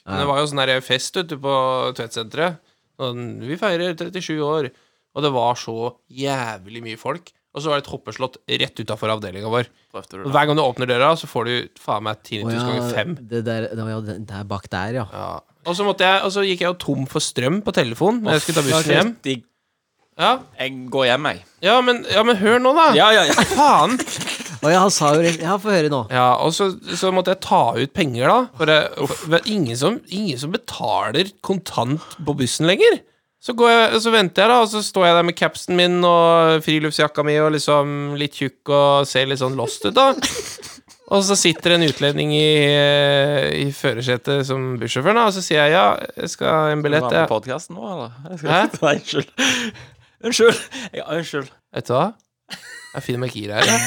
Ja.
Men det var jo sånn der fest ute på Tvedtsenteret. Sånn, Vi feirer 37 år. Og det var så jævlig mye folk. Og så var det et hoppeslott rett utafor avdelinga vår.
Prøvde du
Og
det?
hver gang du åpner døra, så får du faen meg 10
å
000 ganger 5.
det der, det var jo den der bak der, ja.
Ja. Og så, måtte jeg, og så gikk jeg jo tom for strøm på telefonen når jeg skulle ta bussen hjem.
Jeg,
Ja,
jeg går hjem, jeg.
ja, men, ja men hør nå, da!
Ja, ja, ja.
Faen!
Å ja, han sa jo rett Ja, få høre nå.
Ja, og så, så måtte jeg ta ut penger, da. For, jeg, for det er ingen, som, ingen som betaler kontant på bussen lenger. Så, går jeg, så venter jeg, da, og så står jeg der med capsen min og friluftsjakka mi og liksom litt tjukk og ser litt sånn lost ut, da. Og så sitter en utlending i, eh, i førersetet som bussjåfør, da, og så sier jeg ja, jeg skal ha en billett.
Var med
Jeg.
podcasten nå, eller? Jeg skal-
Hæ?
[laughs] Nei, unnskyld. Unnskyld. Ja, unnskyld.
Vet du hva? Jeg finner meg ikke i det her. jeg.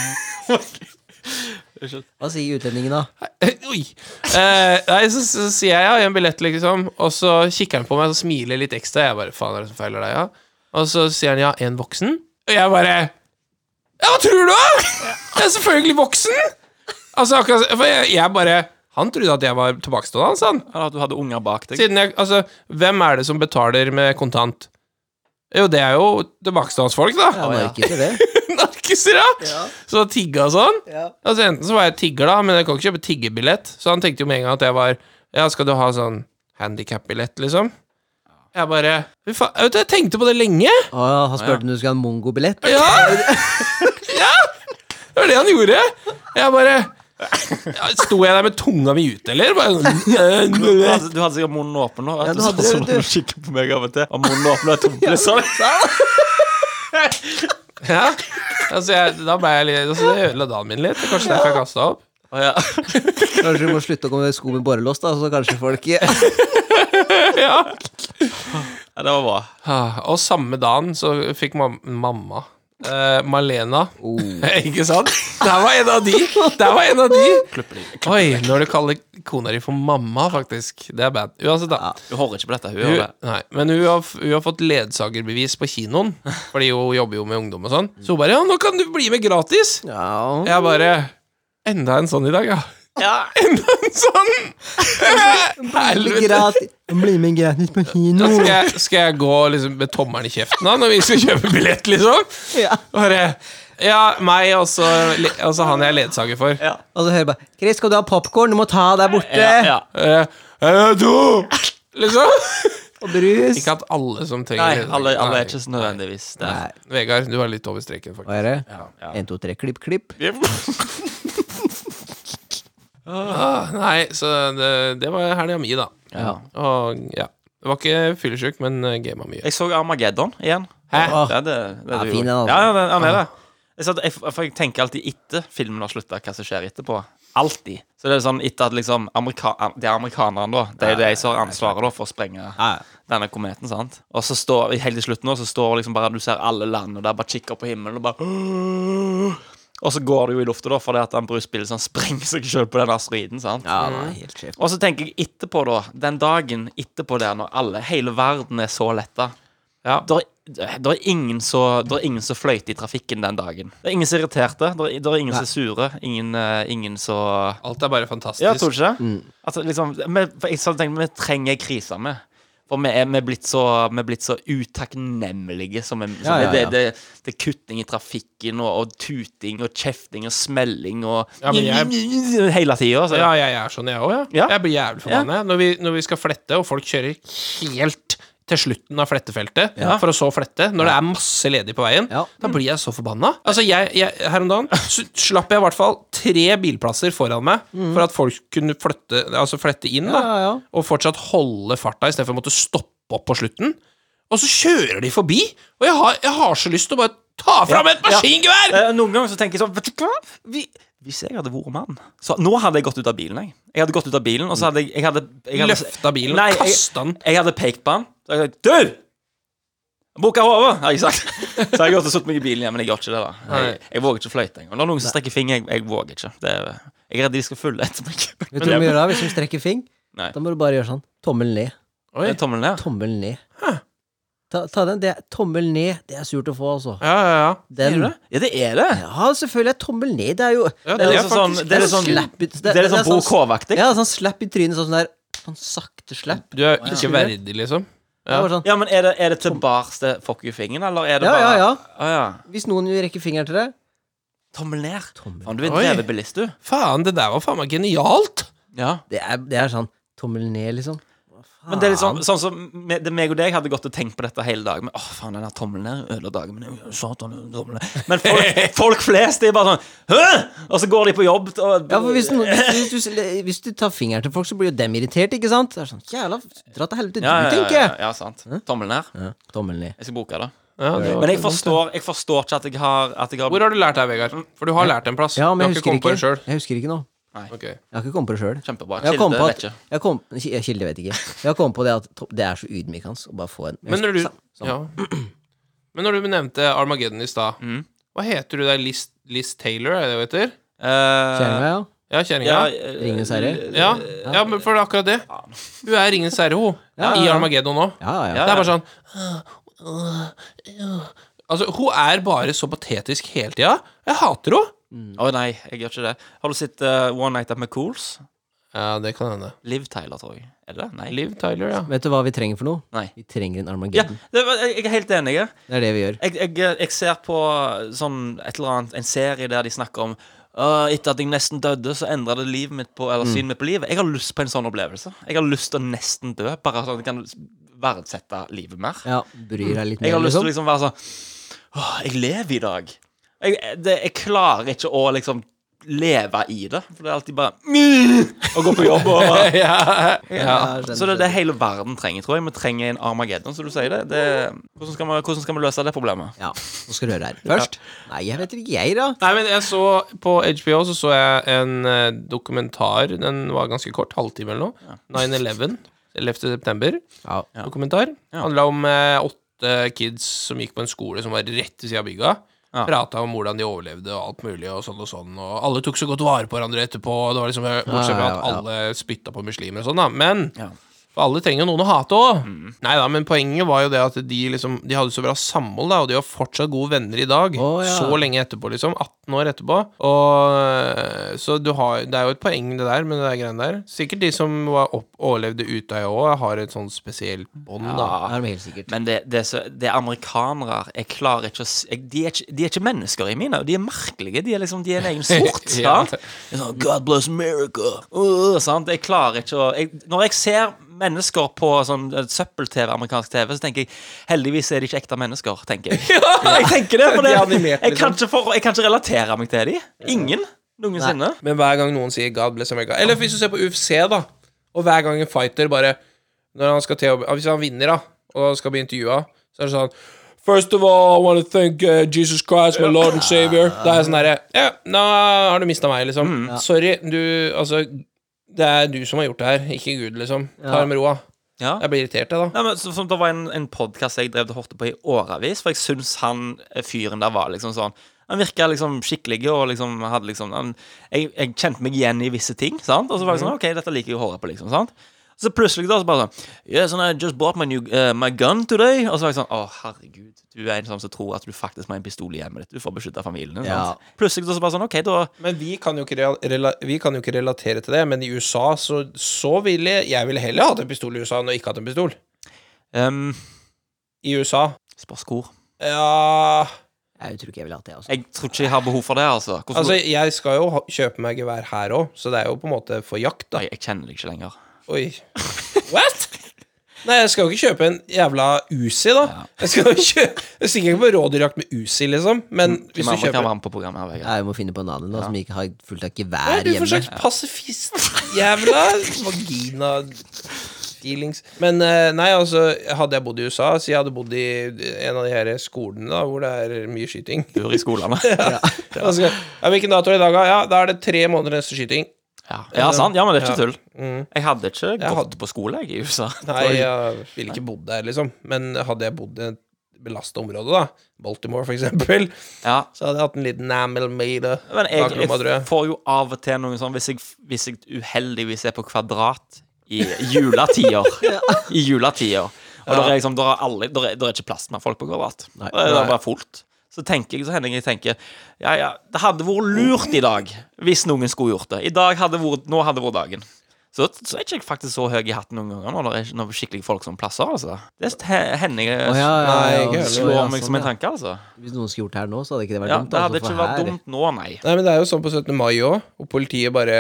Hva sier utlendingen, da?
[laughs] Oi! Eh, nei, så, så sier jeg ja, jeg har en billett, liksom. Og så kikker han på meg og smiler litt ekstra. Jeg bare, faen, er det som feiler deg, ja? Og så sier han ja, en voksen. Og jeg bare Ja, hva tror du, da?! Jeg er selvfølgelig voksen! Altså, akkurat For jeg, jeg bare Han trodde at jeg var tilbakestående, han, sa han.
Eller at du hadde unger bak deg.
Siden jeg Altså, hvem er det som betaler med kontant? Jo, det er jo tilbakestående folk, da.
Han er ikke til det.
[laughs] Narkiser, ja! Så tigga og sånn. Altså Enten så var jeg tigger, da, men jeg kan ikke kjøpe tiggerbillett. Så han tenkte jo med en gang at jeg var Ja, skal du ha sånn handikap-billett, liksom? Jeg bare Fy faen, vet du, jeg tenkte på det lenge!
Å ja, han spurte om du skulle ha en mongobillett.
Ja! ja! Det var det han gjorde. Jeg bare ja, Sto jeg der med tunga mi ute, eller? Bare, sånn,
Du hadde, du hadde sikkert munnen åpen nå.
Ja,
Vet du,
du hadde
sånn som
det,
når du kikker på meg av og til. Og munnen åpen og tom, liksom.
ja. altså, jeg, da ble jeg litt altså, Det ødela dagen min litt. Det er Kanskje derfor jeg kasta opp.
Å, ja.
Kanskje du må slutte å gå med sko med borrelås, da, så kanskje folk ja.
Ja.
ja, det var bra.
Ah, Og samme dagen så fikk mam mamma eh, Malena
Oh.
[laughs] Ikke sant? Der var en av de! Der var en av de!
Klipper de.
Oi, når du kaller kona di for mamma, faktisk. Det er bad. Uansett, da.
Du hører ikke på dette, hun
Hun,
gjør det.
nei, men hun har, f- hun har fått ledsagerbevis på kinoen, fordi hun jobber jo med ungdom og sånn. Så hun bare 'Ja, nå kan du bli med gratis!' Jeg bare Enda en sånn i dag, ja. [laughs]
Ja.
Enda en sånn!
[laughs]
Helvete!
Gratis. Bli med gratis på kino.
Da skal jeg, skal jeg gå liksom, med tommelen i kjeften da, når vi skal kjøpe billett, liksom?
Ja.
Bare Ja, meg og så le- og så han jeg er ledsager for.
Ja.
Og så hører jeg bare 'Chris, skal du ha popkorn? Du må ta der borte.'
Ja, ja.
Eh, eh,
[laughs]
to! Liksom.
Og brus.
Ikke at alle som trenger
Nei,
ledsager-
alle, alle er
Nei.
ikke så nødvendigvis der.
Nei,
Vegard, du er litt over streken, faktisk.
hva er det?
Ja.
En, to, tre, klipp, klipp.
Ah, nei, så det, det var helga mi, da.
Ja.
Og ja. Det var ikke fyllesyk, men eh, gama mye.
Jeg så Armageddon igjen.
Hæ?
Ja, det, er det, det
Ja,
du
fin
gjorde.
den, altså.
Ja, ja, den, han er det. Jeg, satt, jeg, for jeg tenker alltid etter filmen har slutta, hva som skjer etterpå. Alltid. Så det er sånn etter at liksom amerika Det er amerikanerne, da. Det er jo de som har ansvaret da for å sprenge denne kometen, sant. Og så står helt til slutt nå, så står liksom bare Du ser alle land, og der bare kikker på himmelen, og bare Og så går det jo i lufta, da, fordi at han Bruce Billison sprenger seg sjøl på den asteroiden, sant.
Ja, det er helt sjef.
Og så tenker jeg etterpå, da. Den dagen etterpå der, når alle, hele verden er så letta.
Ja.
Da er ingen så- der er ingen som fløyte i trafikken den dagen. Det er ingen som er irriterte. Det er, der er ingen som er sure. Ingen, eh, ingen så
Alt er bare fantastisk.
Ja, tror du ikke det? Altså, liksom, vi, for jeg så tenkte, vi trenger ei krise med. For For vi er, vi er, blitt, så, vi er blitt så utakknemlige. Som en, som
Ja, ja,
Det,
ja.
det, det, det er kutting i trafikken og, og tuting og kjefting og smelling og
Ja, men jeg-
Hele altså. tida.
Ja, jeg er sånn, jeg òg. Ja.
Ja.
Jeg blir jævlig forbanna jeg. når, vi- når vi skal flette, og folk kjører helt til slutten av flettefeltet for å så flette, når det er masse ledig på veien.
Ja.
Da blir jeg så forbanna. Altså, jeg, jeg, her om dagen s- slapp jeg i hvert fall tre bilplasser foran meg
Mm.
for at folk kunne flytte, altså flette inn, da,
Ja, ja.
og fortsatt holde farta istedenfor å måtte stoppe opp på slutten. Og så kjører de forbi, og jeg har, jeg har så lyst til å bare ta fram et maskingevær!
Eh, Noen ganger så tenker jeg sånn Vet du hva? Vi, hvis jeg hadde vært mann så, Nå hadde jeg gått ut av bilen, jeg. Jeg hadde gått ut av bilen, og så hadde jeg, jeg, hadde, jeg hadde,
Løfta bilen
Nei,
og
jeg-
kasta den.
Jeg hadde pekt på han. Så hadde jeg sagt Du! Bukka hodet! Har jeg sagt. Så hadde jeg gått og satt meg i bilen igjen, men jeg gjør ikke det, da. Jeg, jeg våger ikke å fløyte engang. Det er noen som strekker fingeren. Jeg, jeg våger ikke. Det er, jeg er redd de skal følge etter meg.
Vet du hva vi gjør da, hvis vi strekker fing?
Nei.
Da må du bare gjøre sånn. Tommel ned.
Oi.
Det er Tommelen ned.
Tommel ned. Ta, ta den. Det er, tommel ned. Det er surt å få, altså.
Ja, ja, ja.
Er
Den.
det? Ja, det er det.
Ja, selvfølgelig er tommel ned. Det er jo
ja
Det er
det
liksom sånn
faktisk-
Det er litt sånn,
slap i-
det er litt sånn
sånn-
BK-aktig.
Ja, sånn slapp i trynet, sånn der. Sånn sakte slapp.
Du er
Ja.
ikke verdig, liksom.
Det var sånn.
Ja, men er det, er det tilbake til fuck you-fingeren, eller er det
Ja,
bare
ja, ja.
Å, ja.
Hvis noen rekker fingeren til deg
Tommel ned.
Tommel.
Faen, du er en
Oi.
drevet bilist, du.
Faen, det der var faen meg genialt!
Ja.
Det er, det er sånn tommel ned, liksom.
Men det er litt sånn,
Ah.
sånn som me- det, meg og deg hadde gått og tenkt på dette hele dagen. Men åh, faen, den der tommelen der ødela dagen min. Øh, Satan, den tommelen der. Men folk,
[laughs]
folk flest de er bare sånn Hø! Og så går de på jobb. Og,
Ja, for hvis, noen, hvis, du, hvis, du tar fingeren til folk, så blir jo dem irritert, ikke sant? Det er sånn, Jævla, dra til helvete,
ja, ja,
du,
ja,
tenker
ja,
jeg.
ja, sant. Tommelen her.
Ja, tommel ned.
Jeg skal bruke det.
Ja, det var
Men jeg
ikke dumt,
forstår, jeg forstår ikke at jeg har, at jeg
det. Hvor har
har
du lært deg, Vegard? For du har lært en plass.
Ja, men jeg
du har
husker
kommet på
ikke.
det sjøl.
Jeg husker ikke nå. Jeg har ikke kommet på det sjøl.
Kjempebra.
Jeg har kommet
Kilde,
på
vet
at,
ikke.
jeg kom, Ki- Kilde vet ikke. Jeg har kommet på det at to- det er så ydmykende hans, å bare få en
Men når du
Sånn.
ja. [clears throat] Men når du nevnte Armageddon i stad,
Mm.
hva heter du der? Liz, Liz Taylor, er det det heter?
Kjenner du
Uh,
meg, ja?
Ja, kjerringa? Ja,
eh,
Ringenes herre?
ja, eh, men for det er akkurat det. Hun er Ringens herre, hun.
Ja, ja,
I
ja.
Armageddon nå.
Ja, ja.
Ja.
Det er bare sånn Altså, hun er bare så patetisk hele tida. Jeg hater henne.
Å nei, jeg gjør ikke det. Har du sett eh, One Night Up med Cools?
[laughs] Ja, det kan hende.
Liv Tyler, tror jeg. Er det det? Nei.
Liv Tyler, ja.
Vet du hva vi trenger for noe?
Nei.
Vi trenger en
Ja,
Armageddon.
det, var- jeg jeg er helt enig. jeg.
Det er det vi gjør.
jeg, jeg, jeg ser på sånn et eller annet, en serie der de snakker om «Åh, etter at jeg nesten døde, så endra det livet mitt på,
Mm.
eller synet mitt på livet. Jeg har lyst på en sånn opplevelse. Jeg har lyst til å nesten dø, bare sånn at jeg kan verdsette livet mer.
Ja, Bryr deg litt
Jeg
mer,
har lyst til å
liksom.
liksom være sånn Åh, jeg lever i dag. Jeg, det, jeg klarer ikke å liksom leve i det. For det er alltid bare «Mm», Å gå på jobb
[laughs]
og
ja.
Ja, skjønner,
Så det er det hele verden trenger, tror jeg. Vi trenger en Armageddon, som du sier det. det hvordan, skal vi, hvordan skal vi løse det problemet?
Ja, Nå skal du høre her. Først Nei, jeg vet ikke, jeg, da.
Nei, men jeg så På HBO så så jeg en eh, dokumentar. Den var ganske kort, halvtime eller
[laughs]
noe. 9-11. 11. september.
Ja.
Dokumentar.
Ja.
Handla om eh, åtte kids som gikk på en skole som var rett ved sida av bygga.
Ja.
Prata om hvordan de overlevde og alt mulig, og sånn og sånn. Og alle tok så godt vare på hverandre etterpå. og Det var liksom eh, Bortsett fra
Ja, ja,
at
ja.
alle spytta på muslimer og sånn, da. Men
Ja.
for alle trenger jo noen å hate òg.
Mm.
Nei da, men poenget var jo det at de liksom De hadde så bra samhold, da, og de var fortsatt gode venner i dag.
Å, ja.
Så lenge etterpå, liksom. 18 år etterpå. Og eh, Så du har Det er jo et poeng, det der, med det der greiene der. Sikkert de som var opp, overlevde Utøya òg, har et sånn spesielt bånd, da.
Det er de helt sikkert.
Men det, det, er så, det er amerikanere Jeg klarer ikke å s- jeg, de, er ikke, de er ikke mennesker i mine øyne. De er merkelige. De er liksom De er en egen
[laughs]
sort.
Ja.
sant? Det er sånn, God bless America. Uh, sant? Jeg klarer ikke å jeg, Når jeg ser mennesker på sånn eh, søppel-TV, amerikansk TV, så tenker jeg heldigvis er de ikke ekte mennesker, tenker
[laughs]
jeg. jeg tenker det,
De
for det,
er animert,
jeg,
liksom.
kan ikke for, jeg kan ikke relatere meg til de. Ingen. Noensinne.
Men hver gang noen sier 'God bless America' Eller hvis du ser på UFC, da. Og hver gang en fighter bare Når han skal til å Hvis han vinner, da, og skal bli intervjua, så er det sånn First of all, I want to thank uh, Jesus Christ, my Lord and Savior. Det er sånn derre Ja, nå har du mista meg, liksom. Sorry, du Altså, det er du som har gjort det her, ikke Gud, liksom. Ta det med ro, da.
Ja.
Jeg blir irritert, jeg, da.
Nei, men så, så, Det var en, en podkast jeg drev og hørte på i årevis, for jeg syns han eh, fyren der var liksom sånn Han virka liksom skikkelig og liksom hadde liksom han, jeg, jeg kjente meg igjen i visse ting, sant? Og så var jeg
Mhm.
sånn OK, dette liker jeg å høre på, liksom. sant? Så plutselig da, så bare sånn Yes, and I just bought my, new, eh, my gun today. Og så var jeg sånn Å, herregud. Du er en sånn som tror at du faktisk må ha en pistol i hjemmet ditt. Du får beskytte familien din.
Ja.
sant? Plutselig da, så bare sånn OK, da
Men vi kan, jo ikke real- rela vi kan jo ikke relatere til det. Men i USA så, så ville jeg ville heller hatt en pistol i USA enn å ikke hatt en pistol.
Ehm,
i USA.
Spørs hvor.
Ja
Jeg tror ikke jeg ville hatt det. altså
Jeg tror ikke jeg har behov for det, altså. Hvordan,
Altså, jeg skal jo ha, kjøpe meg gevær her òg, så det er jo på en måte for jakt, da.
Nei, jeg kjenner deg ikke lenger.
Oi. What?! Nei, jeg skal jo ikke kjøpe en jævla Uzi, da. Jeg skal jo kjøpe Jeg stikker ikke på rådyrjakt med Uzi, liksom, men hvis
Hvem
du
andre Mm. kan
kjøper
være med på programmet her, Vegard?
Nei, Jeg må finne på en annen da, som ikke har fullt av
Hva er
gevær
du for
hjemme.
slags pasifist? Jævla vagina feelings. Men eh, nei, altså, hadde jeg bodd i USA, så jeg hadde bodd i en av de her skolene da, hvor det er mye skyting
Bur i skolene.
Altså, ja, Hvilken dato er det i dag, da? Ja, da er det tre måneder neste skyting.
Ja, ja sant? Ja, men det er ikke tull.
Mm.
Jeg hadde ikke gått
hadde-
på skole, jeg, i USA.
Nei, jeg ville ikke bodd der, liksom. Men hadde jeg bodd i et belasta område, da, Baltimore for eksempel,
Ja.
så hadde jeg hatt en liten amel made
Men jeg,
baklomma, tror
jeg
jeg.
får jo av og til noen sånn Hvis jeg, hvis jeg uheldigvis er på kvadrat i
[laughs]
juletider I juletider Og der er liksom, der er, aldri, der er, der er ikke plass til mer folk på kvadrat.
Nei.
Det er bare fullt. Så tenker jeg, så hender jeg jeg tenker Ja, ja, det hadde vært lurt i dag hvis noen skulle gjort det. I dag hadde vært Nå hadde vært dagen. Så, så er ikke jeg faktisk så høy i hatten noen ganger når det er noen skikkelige folk som plasser. altså Det he- hender jeg
Å, ja, ja,
Nei,
ja,
ikke
ja,
heller.
slår
ja,
meg
sånn,
som en
ja.
tanke, altså.
Hvis noen skulle gjort det her nå, så hadde ikke det vært
Ja,
dumt.
det hadde
altså,
ikke
for
vært
her-
dumt nå, nei.
Nei, men det er jo sånn på 17. mai òg, og politiet bare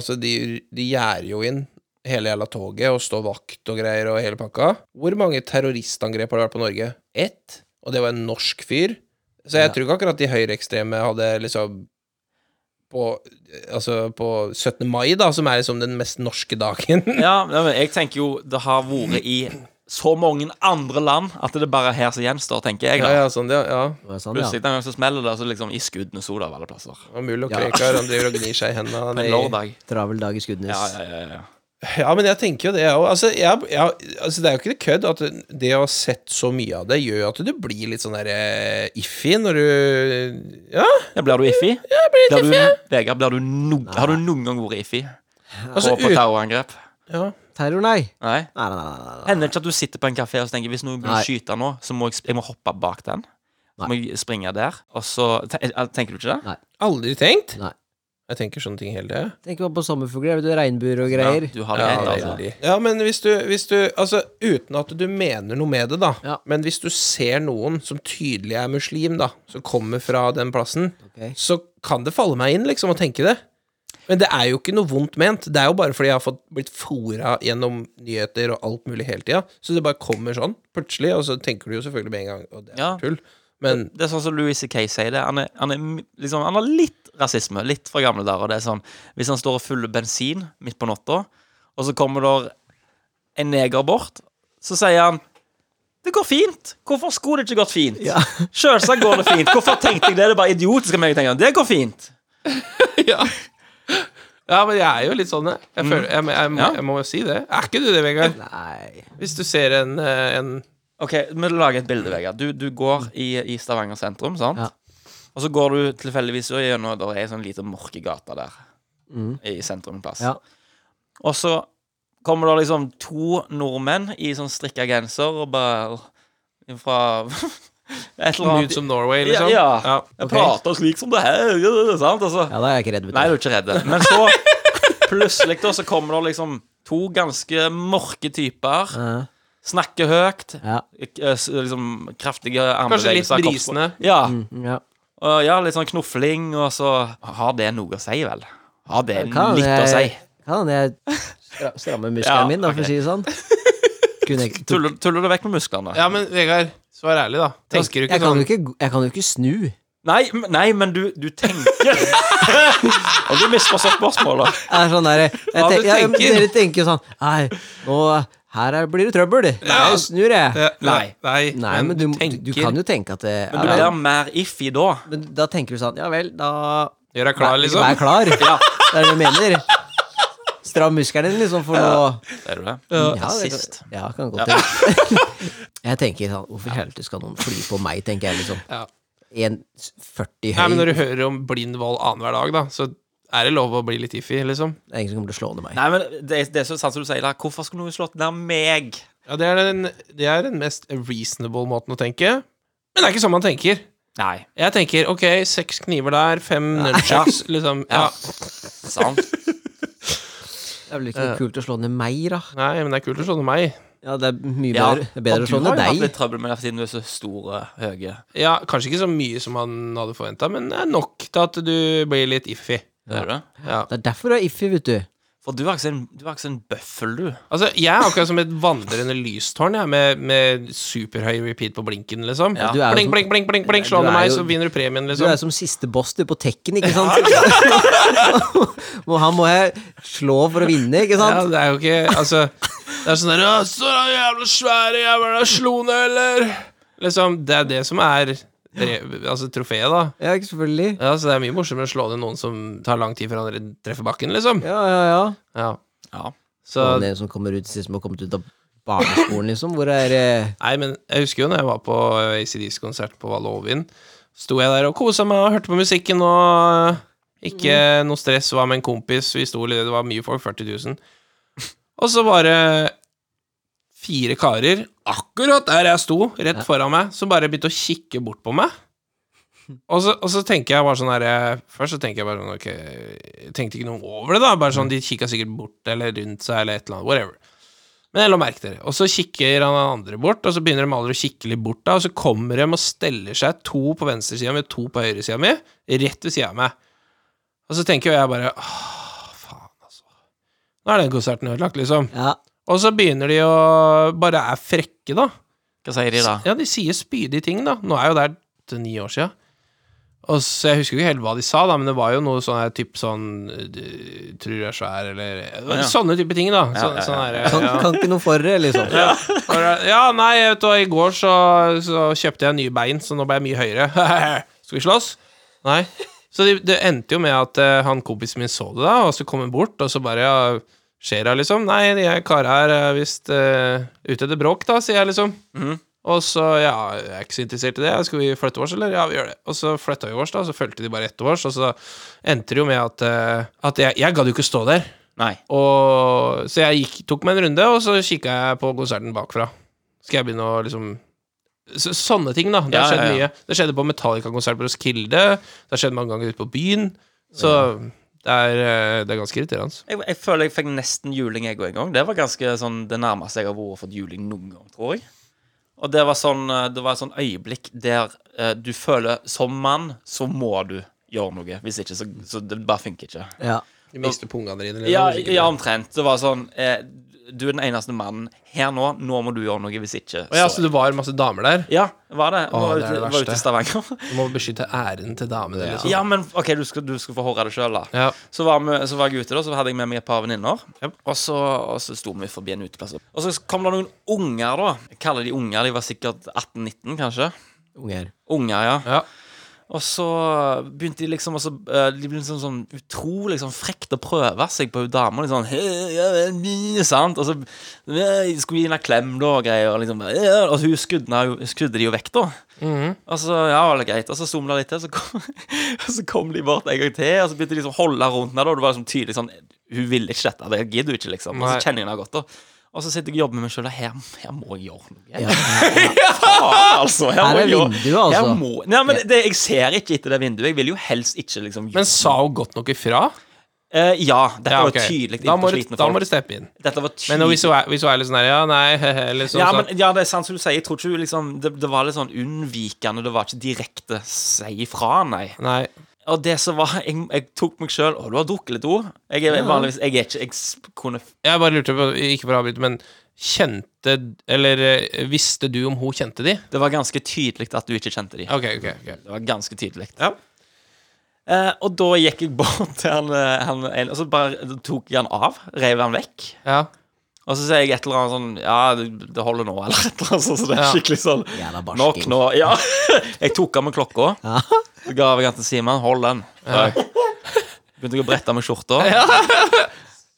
Altså, de, de gjerder jo inn hele jævla toget og står vakt og greier og hele pakka. Hvor mange terroristangrep har det vært på Norge? Ett, og det var en norsk fyr. Så jeg
Ja.
tror ikke akkurat de høyreekstreme hadde liksom på, altså på 17. mai, da, som er liksom den mest norske dagen.
Ja, nei, men jeg tenker jo det har vært i så mange andre land at det er bare her som gjenstår, tenker jeg.
Ja,
da
ja, sånn, ja. ja.
Det var Sånn, ja.
Plutselig den gangen så smeller det, så liksom i skuddenes hode av alle plasser.
Det var mulig å
Ja.
kreke her, han driver og gnir seg i hendene.
På en
ned i-
lørdag.
Travel dag i Skudenes.
Ja, ja, ja, ja.
Ja, men jeg tenker jo det, jeg òg. Altså, jeg, jeg, altså, det er jo ikke kødd at det å ha sett så mye av det, gjør jo at du blir litt sånn der eh, iffy når du Ja,
ja blir du iffy?
jeg blir litt
Blir du,
iffy.
Vegard, blir du no, har du noen gang vært iffy?
Altså,
på, på
ut-
terrorangrep?
Ja.
Terror, nei.
Nei?
Nei, nei, nei, nei, nei.
Hender det ikke at du sitter på en kafé og så tenker hvis noen
Nei.
blir skyte nå, så må jeg, sp- jeg må hoppe bak den? Så må jeg springe der, og så ten- Tenker du ikke det?
Aldri tenkt.
Nei.
Jeg tenker sånne ting hele tida.
Tenk bare på sommerfugler, vet du, regnbuer og greier.
Du har det
Ja,
helt, altså.
veldig. ja, men hvis du, hvis du Altså, uten at du mener noe med det, da,
Ja.
men hvis du ser noen som tydelig er muslim, da, som kommer fra den plassen,
Ok.
så kan det falle meg inn, liksom, å tenke det. Men det er jo ikke noe vondt ment. Det er jo bare fordi jeg har fått blitt fora gjennom nyheter og alt mulig hele tida. Så det bare kommer sånn plutselig, og så tenker du jo selvfølgelig med en gang Og det er
Ja.
tull. Men
Det er sånn som Louis C.K. sier det. Han, er, han, er, m- liksom, han har litt rasisme, litt fra gamle dager. og Det er sånn, hvis han står og fyller bensin midt på natta, og så kommer der en neger bort, så sier han det går fint. Hvorfor skulle det ikke gått fint?
Ja. [laughs]
Selvsagt går det fint. Hvorfor tenkte jeg det? Det er bare idiotisk av meg å tenke det går fint.
[laughs] ja. ja, men jeg er jo litt sånn, jeg. Jeg, føler, jeg, jeg, jeg,
Ja.
jeg må jo si det. Er ikke du det, Vegard?
Nei.
Hvis du ser en, eh, en
Ok, Vi lager et bilde, Vegard. Du, du går i, i Stavanger sentrum, sant?
Ja.
Og så går du tilfeldigvis gjennom Der er ei sånn lita mørkegate der
Mm.
i sentrum en plass.
Ja.
Og så kommer det liksom to nordmenn i sånn strikka genser og bare Fra [laughs] et eller
Nudes
annet
of Norway, liksom?
Ja. ja.
Ja.
Jeg
ok.
prater slik som det her, ja, sant? Altså.
Ja, da er jeg ikke redd, vet du.
Nei, du er ikke redd. Men så plutselig da, så kommer det liksom to ganske mørke typer.
Ja.
Snakker høyt.
Ja.
k- eh, s- Liksom kraftige
Kanskje litt
armbevegelser. kroppsspråk.
brisende.
Ja.
Mm, ja.
og ja, litt sånn knufling, og så Har det noe å si, vel? Har det Mm,
Kan
litt å si?
jeg, kan jeg stra- stramme muskelen
Ja,
min, da, for
ok.
å si det sånn? Kunne jeg, tok,
Tuller, tuller du vekk med musklene?
Ja, men Vegard, svar ærlig, da. Tenker du
jeg,
ikke
kan
sånn
jo ikke, jeg kan jo ikke snu.
Nei, m- nei, men du, du [laughs] tenker Og du misforstår spørsmålet.
Det er sånn der, jeg,
Ja, du
tenk- jeg,
tenker.
dere tenker jo sånn Nei, nå her er, blir det trøbbel. Jeg snur, jeg.
Nei.
Eh, Nei,
Nei, men du, du, du kan jo tenke at det,
Men du
ja,
blir mer iffy da.
men da tenker du sånn Ja vel, da
Gjør deg klar, liksom.
Vær klar. Det er det du mener. Stram muskelen din, liksom, for nå
Er du det? Mm,
ja, det kan-
Rasist.
Ja, kan godt hende. [laughs] jeg tenker sånn Hvorfor i helvete skal noen fly på meg, tenker jeg, liksom.
Ja.
1,40
Nei, men
høy.
når du hører om blind vold annenhver dag, da, så er det lov å bli litt iffy, liksom.
Det er ingen som kommer til å slå ned meg.
Nei, men det, er- det er så sant som du sier der. Hvorfor skulle noen slått ned meg?
Ja, det er, den, det er den mest reasonable måten å tenke. Men det er ikke sånn man tenker.
Nei.
Jeg tenker ok, seks kniver der, fem nunchucks, liksom. Ja.
Sant?
Det er vel ikke kult å slå ned meg, da.
Nei, men det er kult å slå ned meg.
Ja, det er mye bedre, det er bedre å slå
har
ned
jo hatt
deg.
litt trøbbel med det siden du er så store, høye.
Ja, kanskje ikke så mye som han hadde forventa, men det er nok til at du blir litt iffy.
Hører du det?
Ja.
Det er derfor du er iffy, vet du.
For du er ikke sånn- du er ikke sånn bøffel, du.
Altså, jeg er akkurat som et vandrende lystårn, jeg, med, med superhøy repeat på blinken, liksom.
Ja.
Du er jo sånn-
Blink,
som-
blink, blink, blink, blink, slå
Du
ned
er
meg,
jo-
så vinner du premien,
Du
liksom.
er som siste boss du på Tekken, ikke sant? og han [laughs] må jeg slå for å vinne, ikke
Ja,
sant?
det er jo ikke Altså, det er sånn der «Å, Så er han jævla svære jævla slo ned, eller? Liksom, det er det som er re- altså, trofeet, da.
Ja, ikke selvfølgelig.
Ja, så det er mye morsommere å slå ned noen som tar lang tid før han treffer bakken, liksom.
Ja, ja, ja.
Ja.
Ja.
Så
Og det som kommer ut sist, som har kommet ut av barneskolen, liksom. Hvor er eh,
Nei, men jeg husker jo når jeg var på eh, ACDs-konsert på Valovin, sto jeg der og kosa meg og hørte på musikken og eh, ikke noe stress, var med en kompis, vi sto litt, det var mye folk, 40 000. Og så var det fire karer, akkurat der jeg sto, rett foran meg, som bare begynte å kikke bort på meg. Og så, og så tenker jeg bare sånn her Først så tenker jeg bare sånn Ok, jeg tenkte ikke noe over det, da. Bare sånn, De kikka sikkert bort eller rundt seg eller et eller annet. Whatever. Men jeg la merke til det. Og så kikker han andre bort, og så begynner de alle å kikke litt bort, da, og så kommer de og steller seg, to på venstresida mi og to på høyresida mi, rett ved sida av meg. Og så tenker jo jeg bare Åh, faen, altså. Nå er den konserten ødelagt, liksom.
Ja.
Og så begynner de å bare er frekke, da.
Hva sier de da?
Ja, de sier spydige ting, da. Nå er jo det her til ni år sia. Og så, Jeg husker ikke helt hva de sa, da men det var jo noe sånn her typ sånn eh, Tror du er svær, eller
ja.
Sånne type ting, da.
Ja,
Sånn,
ja, ja.
sånn her,
Kan,
ja.
kan ikke noe for det, liksom.
[laughs] Og da- Ja, nei, jeg vet du, hva, i går så, så kjøpte jeg nye bein, så nå ble jeg mye høyere. [laughs] Skal vi slåss? Nei. Så det, det endte jo med at eh, han kompisen min så det, da, og så kom han bort, og så bare ja, Skjer det, liksom? Nei, de her kara her er visst eh, ute etter bråk, da, sier jeg, liksom. Og så, ja, jeg er ikke så interessert i det. Skal vi flytte vårs, eller? Ja, vi gjør det. Og så flytta vi vårs, da, og så fulgte de bare etter vårs, og så endte det jo med at, eh, at jeg, jeg gadd jo ikke stå der.
Nei.
Og, så jeg gikk, tok meg en runde, og så kikka jeg på konserten bakfra. Skal jeg begynne å liksom så, Sånne ting, da. Det har
Ja,
skjedd
ja, ja.
mye. Det skjedde på Metallica-konsert på Roskilde. Det har skjedd mange ganger ute på byen. Så det, er, eh, det er ganske irriterende.
Jeg, jeg føler jeg fikk nesten juling jeg òg en gang. Det var ganske sånn det nærmeste jeg har vært fått juling noen gang, tror jeg. Og det var sånn eh, Det var et sånn øyeblikk der eh, du føler Som mann så må du gjøre noe. Hvis ikke, så, så det bare funker ikke.
Ja.
Du mister pungene dine.
Ja, ja omtrent. Det var sånn eh, Du er den eneste mannen her nå. Nå må du gjøre noe. Hvis ikke,
ja, så det var masse damer der.
Ja, var det.
Å,
var
det er
ute,
det
var ute
verste.
i Stavanger.
Du må beskytte æren til damene. Liksom.
Ja, men OK, du skal, du skal få høre det sjøl, da.
Ja.
Så var, vi, så var jeg ute, da, så hadde jeg med meg et par venninner.
Jep.
Og, så- og så sto vi forbi en uteplass. Og så kom det noen unger, da. Jeg kaller de unger, de var sikkert 18-19, kanskje.
Unger.
Unger, ja.
Ja.
Og så begynte de liksom også, eh, De begynte sånn, sånn utrolig sånn frekt å prøve seg på hun dama. Liksom, «Hei, ja, vel, mi», sant? Og så «Hei, skulle gi henne en klem da, og greier. Og, liksom, «Ja», og hun skudde, jo- skudde de jo vekk, da.
Mhm.
Og så ja, var det greit Og så somla litt til, så kom, [laughs] og så kom de bort en gang til. Og så begynte de liksom å holde rundt henne. da, Og det var liksom tydelig sånn Hun ville ikke dette. Det gidder hun ikke, liksom. Og
Nei.
så kjenner jeg henne godt. da og så sitter jeg og jobber med meg sjøl. Her, her må jeg gjøre noe.
Ja.
Faen, altså, her,
Her
må
er
jeg gjøre-
vinduet, altså.
Her må Nei, men det, jeg ser ikke etter det vinduet. Jeg vil jo helst ikke liksom
Men sa hun godt nok ifra?
Eh, Ja, dette var
ok.
jo tydelig
Da må,
innpå
du-
slitne
da må du
folk.
steppe inn.
Dette var tydelig
Men hvis hun er, hvis hun er litt sånn her Ja, nei, he-he, liksom
ja,
så-
men, ja, det er sant som du sier. Jeg tror ikke hun liksom det, det var litt sånn unnvikende. Det var ikke direkte si ifra, nei.
Nei.
Og det som var Jeg, jeg tok meg sjøl Å, du har drukket litt òg? Jeg er vanligvis Jeg er ikke Jeg s- kunne
Jeg bare lurte på, ikke for å avbryte, men kjente Eller eh, visste du om hun kjente de?
Det var ganske tydelig at du ikke kjente de.
Ok, ok. ok
Det var ganske tydelig.
Ja.
Eh, og da gikk jeg bort til han, eh, han ene, og så bare tok jeg han av. Rev han vekk.
Ja.
Og så sier jeg et eller annet sånn Ja, det, det holder nå, [laughs] eller et eller annet sånt. Så det er
Ja.
skikkelig sånn
Jævla
Nok
barsking.
nå. Ja. [laughs] Jeg tok av meg klokka.
Ja.
Så ga jeg den til Simen. Hold den. Begynte jeg å brette meg skjorta. [laughs]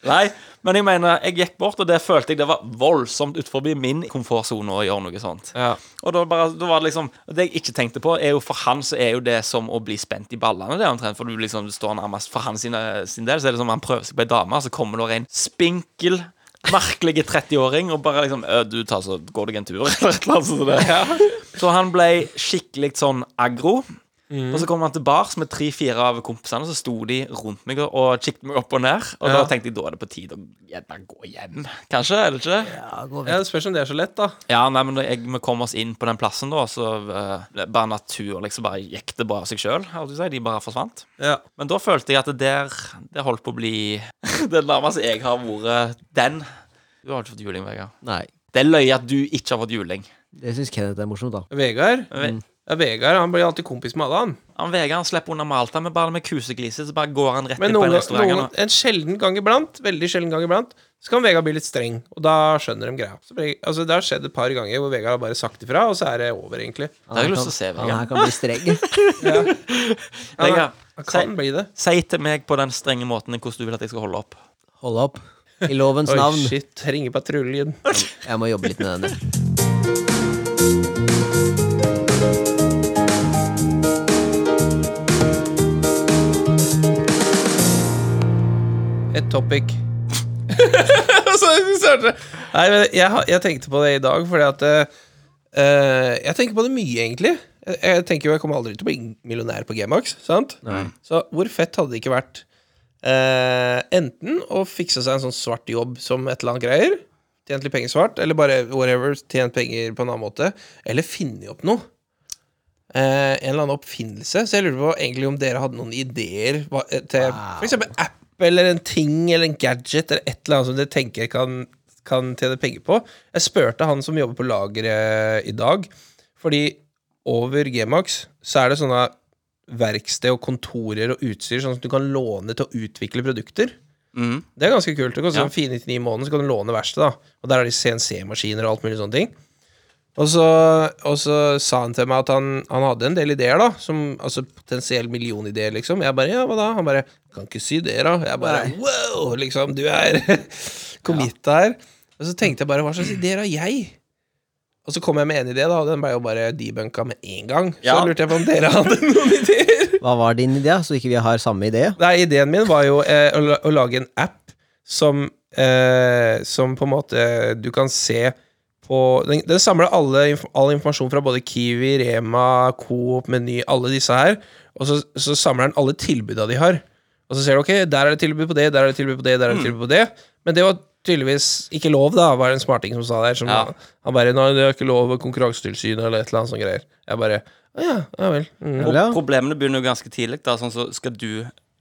Nei, men jeg mener, jeg gikk bort, og det følte jeg det var voldsomt ut forbi min komfortsone å gjøre noe sånt.
ja.
Og da, bare, da var det liksom Det jeg ikke tenkte på, er jo for han så er jo det som å bli spent i ballene. Det er omtrent, For du liksom står nærmest For han sin, sin del så er det som han prøver seg på ei dame, så kommer det en spinkel, merkelig 30-åring og bare liksom «Ø, Du tar [laughs] så går deg en tur, eller et eller annet sånt. som det. Så han ble skikkelig sånn aggro. Og så kom han til bars med tre-fire av kompisene, og så sto de rundt meg og- og kikket meg opp og ned. Og da
Ja.
tenkte jeg da er det på tide å gjerne gå hjem, kanskje? er det ikke? Ja,
Ja, det spørs om det er så lett, da.
nei, men jeg, vi kom oss inn på den plassen, da, så eh, det er bare natur liksom bare gikk det bare av seg sjøl. De bare forsvant.
Ja.
Men da følte jeg at der det holdt på å bli [laughs] det nærmeste jeg har vært den. Du har ikke fått juling, Vegard.
Nei.
Det er løye at du ikke har fått juling.
Det syns Kenneth er morsomt, da.
Vegard
Men vi-
ja, Vegard han blir alltid kompis med alle, han.
Han Vegard han slipper unna med alt, men bare med kusegliset så bare går han rett
Men
inn på en
noen,
restaurant.
noen,
og-
en sjelden gang iblant, veldig sjelden gang iblant, så kan Vegard bli litt streng, og da skjønner de greia. Så, blir- altså, det har skjedd et par ganger hvor Vegard har bare sagt ifra, og så er det over, egentlig.
Det har jeg lyst til å se,
Han her
Vegard.
kan bli streng.
Vegard,
Han
si-
kan bli det.
Si til meg på den strenge måten hvordan du vil at jeg skal holde opp.
Hold opp. I lovens
[laughs] Oi,
navn.
shit. Ringer patruljen.
Jeg må jobbe litt med denne.
Et [laughs] topic. så starter det. Nei, men jeg, har- jeg tenkte på det i dag, fordi at eh, Jeg tenker på det mye, egentlig. Jeg, jeg tenker jo jeg kommer aldri til å bli millionær på Gmax, sant? Så hvor fett hadde det ikke vært eh, enten å fikse seg en sånn svart jobb som et eller annet greier, tjent litt penger svart, eller bare whatever, tjent penger på en annen måte, eller finne opp noe. Eh, en eller annen oppfinnelse. Så jeg lurer på egentlig om dere hadde noen ideer hva, eh, til for eksempel app eller en ting eller en gadget eller et eller annet som dere tenker kan, kan tjene penger på. Jeg spurte han som jobber på lageret i dag, fordi over Gmax så er det sånne verksted og kontorer og utstyr sånn som du kan låne til å utvikle produkter.
Mhm.
Det er ganske kult. Det koster
Ja.
sånn 499 i måneden, så kan du låne verkstedet. da. Og der har de CNC-maskiner og alt mulig sånne ting. Og så, og så sa han til meg at han, han hadde en del ideer, da. Som, altså potensielt millionideer, liksom. Jeg bare ja, hva da? Han bare kan ikke sy det, da. Jeg bare wow, liksom. Du er [laughs] committa her. Og så tenkte jeg bare hva slags ideer har jeg? Og så kom jeg med en idé, da, og den ble jo bare debunka med en gang. Så
Ja.
lurte jeg på om dere hadde [laughs] noen ideer.
Hva var din idé, så ikke vi har samme idé?
Nei, ideen min var jo eh, å, la- å lage en app som, eh, som på en måte du kan se på Den, den samler alle, inf- all informasjon fra både Kiwi, Rema, Coop, Meny, alle disse her. Og så, så samler den alle tilbuda de har. Og så ser du ok, der er det tilbud på det, der er det tilbud på det, der er det tilbud på det. Men det var tydeligvis ikke lov, da, var det en smarting som sa der. Som
Ja.
Han bare Nei, det er ikke lov ved Konkurransetilsynet eller et eller annet sånt greier. Jeg bare Å ja, ja vel. Mm.
Eller, ja?
Og problemene begynner jo ganske tidlig. Da, sånn så skal du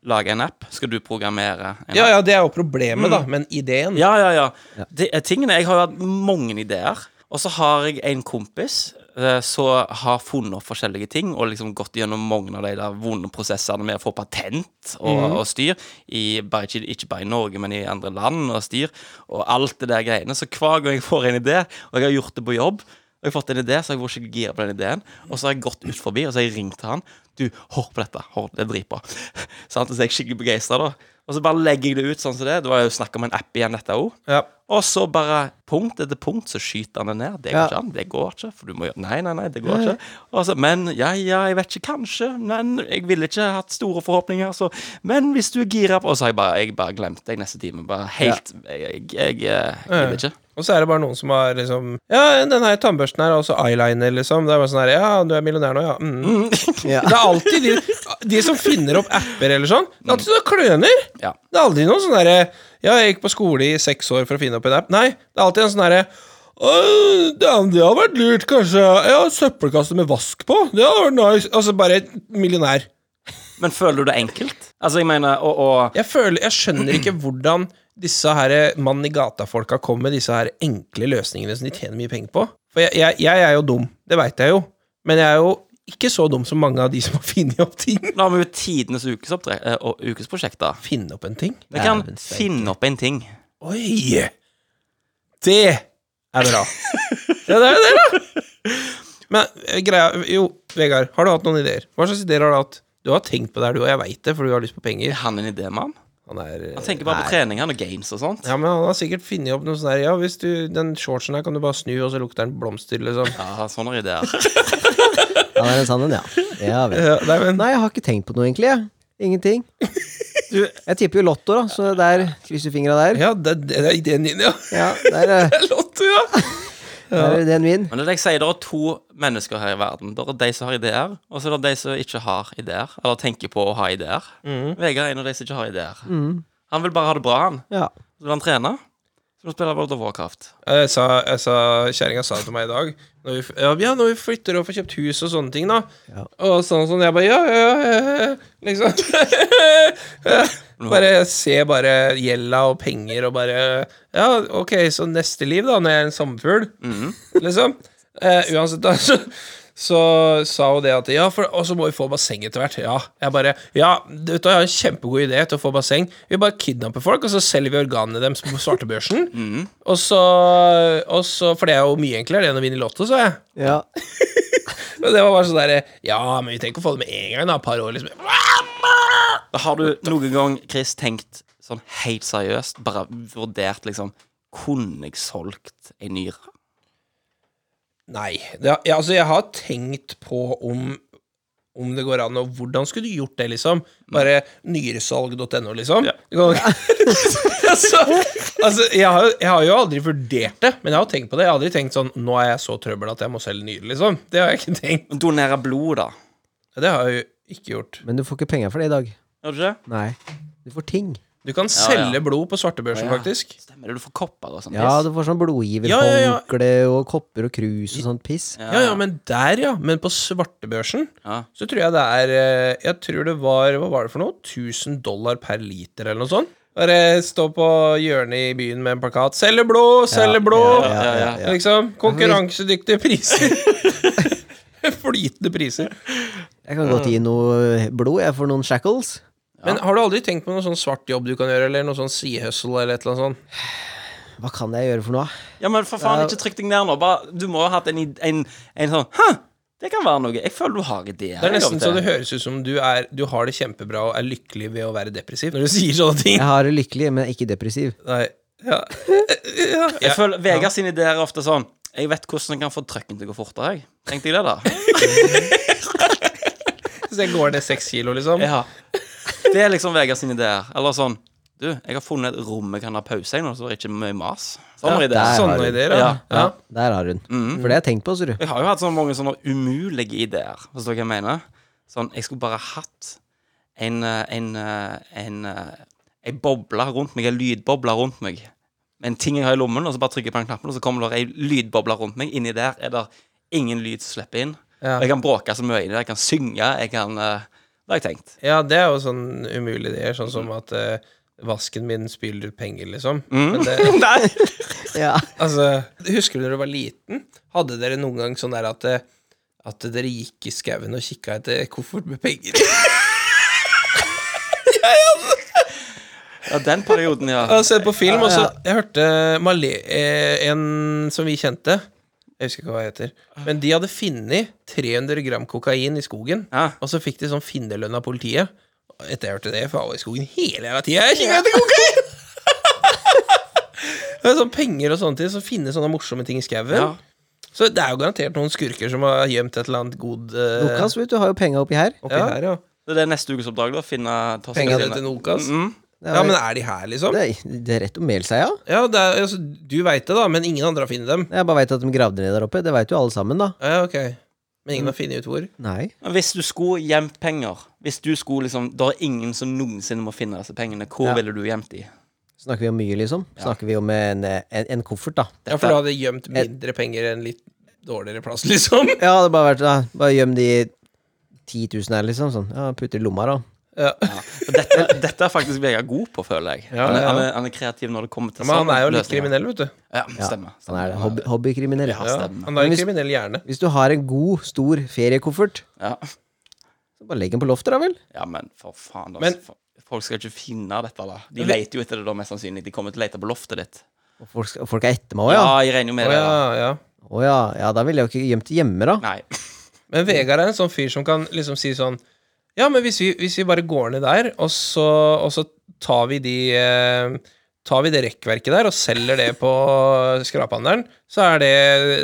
lage en app? Skal du programmere en
Ja
app?
ja, det er jo problemet, da, men ideen
Ja, ja, ja. Det er tingene, jeg har jo hatt mange ideer. Og så har jeg en kompis eh, som har funnet opp forskjellige ting, og liksom gått gjennom mange av de der vonde prosessene med å få patent og, og styr, i, bare ikke, ikke bare i Norge, men i andre land og styr, og alt det der greiene. Så hver gang jeg får en idé, og jeg har gjort det på jobb, og jeg har fått en idé, så har jeg vært skikkelig gira på den ideen. Og så har jeg gått ut forbi, og så har jeg ringt til han. Du, hør på dette. Hør, det er dritbra. [laughs] Sant? Og så er jeg skikkelig begeistra, da. Og så bare legger jeg det ut sånn som det. Det var jo snakk om en app igjen, dette òg.
Ja.
Og så bare punkt etter punkt så skyter han det ned. Det går
Ja.
ikke an. Det går ikke. For du må gjøre Nei, nei, nei, det går ikke. Og så, men ja, ja, jeg vet ikke. Kanskje. Men jeg ville ikke hatt store forhåpninger, så Men hvis du er gira på Og så har jeg bare, jeg bare glemt deg neste time. Bare helt Jeg, jeg, jeg, jeg vil ikke.
Og så er det bare noen som har liksom Ja, den her tannbørsten her, og så eyeliner, liksom. Det er bare sånn her Ja, du er millionær nå, ja. Mm.
Ja.
Det er alltid de, de som finner opp apper eller sånn. Det er alltid sånne kløner.
Ja.
Det er aldri noen sånn derre Ja, jeg gikk på skole i seks år for å finne opp en app. Nei, det er alltid en sånn derre «Åh, damn, Det hadde vært lurt, kanskje. Ja, søppelkasse med vask på. Det hadde vært nice. Og så bare millionær.
Men føler du det enkelt? Altså, jeg mener, og, og
Jeg, føler, jeg skjønner ikke hvordan disse her mann i gata-folka kommer med disse her enkle løsningene som de tjener mye penger på. For jeg, jeg, jeg er jo dum, det veit jeg jo, men jeg er jo ikke så dum som mange av de som har [laughs] funnet opp ting.
Nå har vi jo tidenes ukesoppdre- eh, og ukesprosjekt, da.
Finne opp en ting?
Vi kan
Dæven steike.
finne opp en ting.
Oi! Det er bra. Ja, det er jo det, da! Men eh, greia Jo, Vegard, har du hatt noen ideer? Hva slags ideer har du hatt? Du har tenkt på det her, du, og jeg veit det, for du har lyst på
Er
penger.
han en idémann?
Han er eh,
Han tenker bare på treninger og games og sånt.
Ja, men han har sikkert funnet opp noe sånn der Ja, hvis du, den shortsen her kan du bare snu, og så lukter den blomster, liksom.
Ja, sånne ideer.
Han er en sann en, ja. Det har vi.
Ja, nei, men
Nei, jeg har ikke tenkt på noe, egentlig. Jeg. Ingenting. Jeg tipper jo Lotto, da, så der krysser fingra der.
Ja, [laughs] det, det er ideen din, ja.
Ja, der, eh,
Lotto, ja!
Her er det en min.
Men det er det jeg sier, det er to mennesker her i verden. Det er de som har ideer, og så er det de som ikke har ideer. Eller tenker på å ha ideer. Vegard er en av de som ikke har ideer. Han vil bare ha det bra, han.
Ja.
Så vil han trene. Så vil han spille World of Warcraft.
Jeg sa, jeg sa, Kjerringa sa det til meg i dag. Når vi, f- ja, ja, når vi flytter og får kjøpt hus og sånne ting, da.
Ja.
Og sånn sånn. Jeg bare ja, ja, ja, ja, ja. Liksom. [laughs] bare se bare gjelda og penger og bare Ja, OK, så neste liv, da, når jeg er en sommerfugl, liksom. Eh, uansett, da, [laughs] så, så sa hun det at Ja, for, og så må vi få basseng etter hvert. Ja. Jeg bare Ja, du vet, hva, jeg har en kjempegod idé til å få basseng. Vi bare kidnapper folk, og så selger vi organene deres på svartebørsen. Og så, og så For det er jo mye enklere det enn å vinne i Lotto, sa jeg.
ja.
Og det var bare sånn derre Ja, men vi trenger ikke å få det med en gang, da. Et par år, liksom.
Da har du noen gang, Chris, tenkt sånn helt seriøst, bare vurdert liksom Kunne jeg solgt ei nyre?
Nei. Det, har- ja, altså, jeg har tenkt på om om det går an, og hvordan skulle du gjort det, liksom? Bare nyresalg.no, liksom? Du kan- [laughs] altså, altså jeg, har, jeg har jo aldri vurdert det, men jeg har tenkt på det. Jeg har aldri tenkt sånn Nå er jeg så trøbbel at jeg må selge nyre, liksom. Det har jeg ikke tenkt.
Donere blod, da.
Det har jeg jo ikke gjort.
Men du får ikke penger for det i dag.
Gjør du ikke det?
Nei. Du får ting.
Du kan
Ja,
selge
ja.
blod på svartebørsen, faktisk.
Stemmer det, du får kopper og sånn
Ja,
piss.
du får
Ja,
sånn
ja, ja.
blodgiverhåndkle og kopper og krus og sånt piss.
Ja, ja, men der, ja. Men på svartebørsen
Ja.
så tror jeg det er eh, Jeg tror det var Hva var det for noe? 1000 dollar per liter, eller noe sånt. Bare stå på hjørnet i byen med en plakat 'Selger blod! Selger blod!'
ja, ja,
ja.
Liksom. Konkurransedyktige priser. [laughs] Flytende priser.
Jeg kan godt gi noe blod, jeg, for noen shackles.
Men har du aldri tenkt på noen sånn svart jobb du kan gjøre, eller noe sånn sidehustle, eller et eller annet sånt?
Hva kan jeg gjøre for noe?
Ja, men for faen, ikke trykk deg ned nå. Bare, du må ha hatt en, id- en, en sånn Hæ, det kan være noe. Jeg føler du har ideer.
Det er nesten så
av og
det
til.
høres ut som du, er, du har det kjempebra og er lykkelig ved å være depressiv når du sier sånne ting.
Jeg har det lykkelig, men ikke depressiv.
Nei. Ja. Ja.
Jeg føler Vegard sine ideer er ofte sånn Jeg vet hvordan jeg kan få trøkken til å gå fortere, jeg. Tenkte jeg det,
[laughs]
da.
Så jeg går ned seks kilo, liksom.
Ja. Det er liksom Vegard sine ideer. Eller sånn Du, jeg har funnet et rom jeg kan ha pause i nå, så det er ikke mye mas. Sånn Mm. Sånne
Ja,
ideer.
der.
Sånne
har du.
ideer, ja.
Ja,
ja.
Der har hun. For det har jeg tenkt på,
[laughs]
ser du.
Jeg har jo hatt sånn mange sånne umulige ideer, forstår du hva jeg mener? Sånn, jeg skulle bare hatt en, eh, en, eh, en, eh, en boble rundt meg, en lydboble rundt meg. En ting jeg har i lommen, og så bare trykker jeg på den knappen, og så kommer det en lydboble rundt meg. Inni der er det ingen lyd som slipper inn.
Ja.
Og jeg kan bråke så mye i det, jeg kan synge, jeg kan eh, Det har jeg tenkt.
Ja, det er jo sånn umulige ideer, sånn som at eh, vasken min spyler penger, liksom. Men det, [laughs]
Nei.
Ja.
altså, husker du da du var liten? Hadde dere noen gang sånn der at, eh, at dere gikk i skauen og kikka etter koffert med penger?
Ja, den perioden,
[laughs]
ja.
Jeg har sett på film, og så Jeg hørte Malé, eh, en som vi kjente Jeg husker ikke hva hun heter. Men de hadde funnet 300 gram kokain i skogen,
Ja.
og så fikk de sånn finnerlønn av politiet. Og Etter jeg hørte det, for jeg var i skogen hele jævla tida. Jeg kikket etter kokain! [laughs] Det er sånn penger og sånne ting, så finne sånne morsomme ting i skauen.
Ja.
Så det er jo garantert noen skurker som har gjemt et eller annet god eh,
Lukas, vet du, har jo penga oppi her.
oppi
ja.
her, ja.
Så det er neste ukes oppdrag, da. Finne ta seg
Penga
en time.
til altså. Nokas.
Mm.
Ja, men er de her, liksom?
Det, det er rett å melde seg, ja.
Ja, det er, altså, Du veit det, da, men ingen andre har funnet dem.
Jeg bare veit at de gravde ned der oppe. Det veit jo alle sammen, da.
Ja, ok. Men ingen har funnet ut hvor.
Nei.
Men Hvis du skulle gjemt penger Hvis du skulle liksom Det er ingen som noensinne må finne disse pengene. Hvor
Ja.
ville du gjemt de?
Snakker vi om mye, liksom? Snakker vi om en, en, en koffert, da?
Ja, for du hadde gjemt mindre penger enn litt dårligere plass, [laughs] liksom.
Ja, det har bare vært ja, Bare gjem de 10 000 her, liksom. Sånn. Ja, putter i lomma, da.
Ja.
For dette,
[laughs]
dette er faktisk Vegard god på, føler jeg.
Ja,
han, er,
ja.
han, er, han er kreativ når det kommer til
Men han
sånne
er jo litt
løsninger.
kriminell, vet du.
Ja, stemmer.
Han
stemmer.
er hobby, hobbykriminell.
Ja,
stemmer.
han har
Men
en
hvis-
kriminell hjerne.
Hvis du har en god, stor feriekoffert,
Ja.
så bare legg den på loftet, da vel?
ja, men for faen,
Men-
altså. Folk skal ikke finne dette, da. De leter jo etter det, da, mest sannsynlig. De kommer til å lete på loftet ditt.
Og folk, skal- folk er etter meg òg,
Ja,
ja?
jeg regner jo
Å
med det.
ja,
da.
ja.
Å ja. ja, da ville jeg jo ikke gjemt det hjemme, da.
Nei. [laughs]
Men Vegard er en sånn fyr som kan liksom si sånn Ja, men hvis vi, hvis vi bare går ned der, og så, og så tar vi de eh, Tar vi det rekkverket der og selger det på skraphandelen, så er det,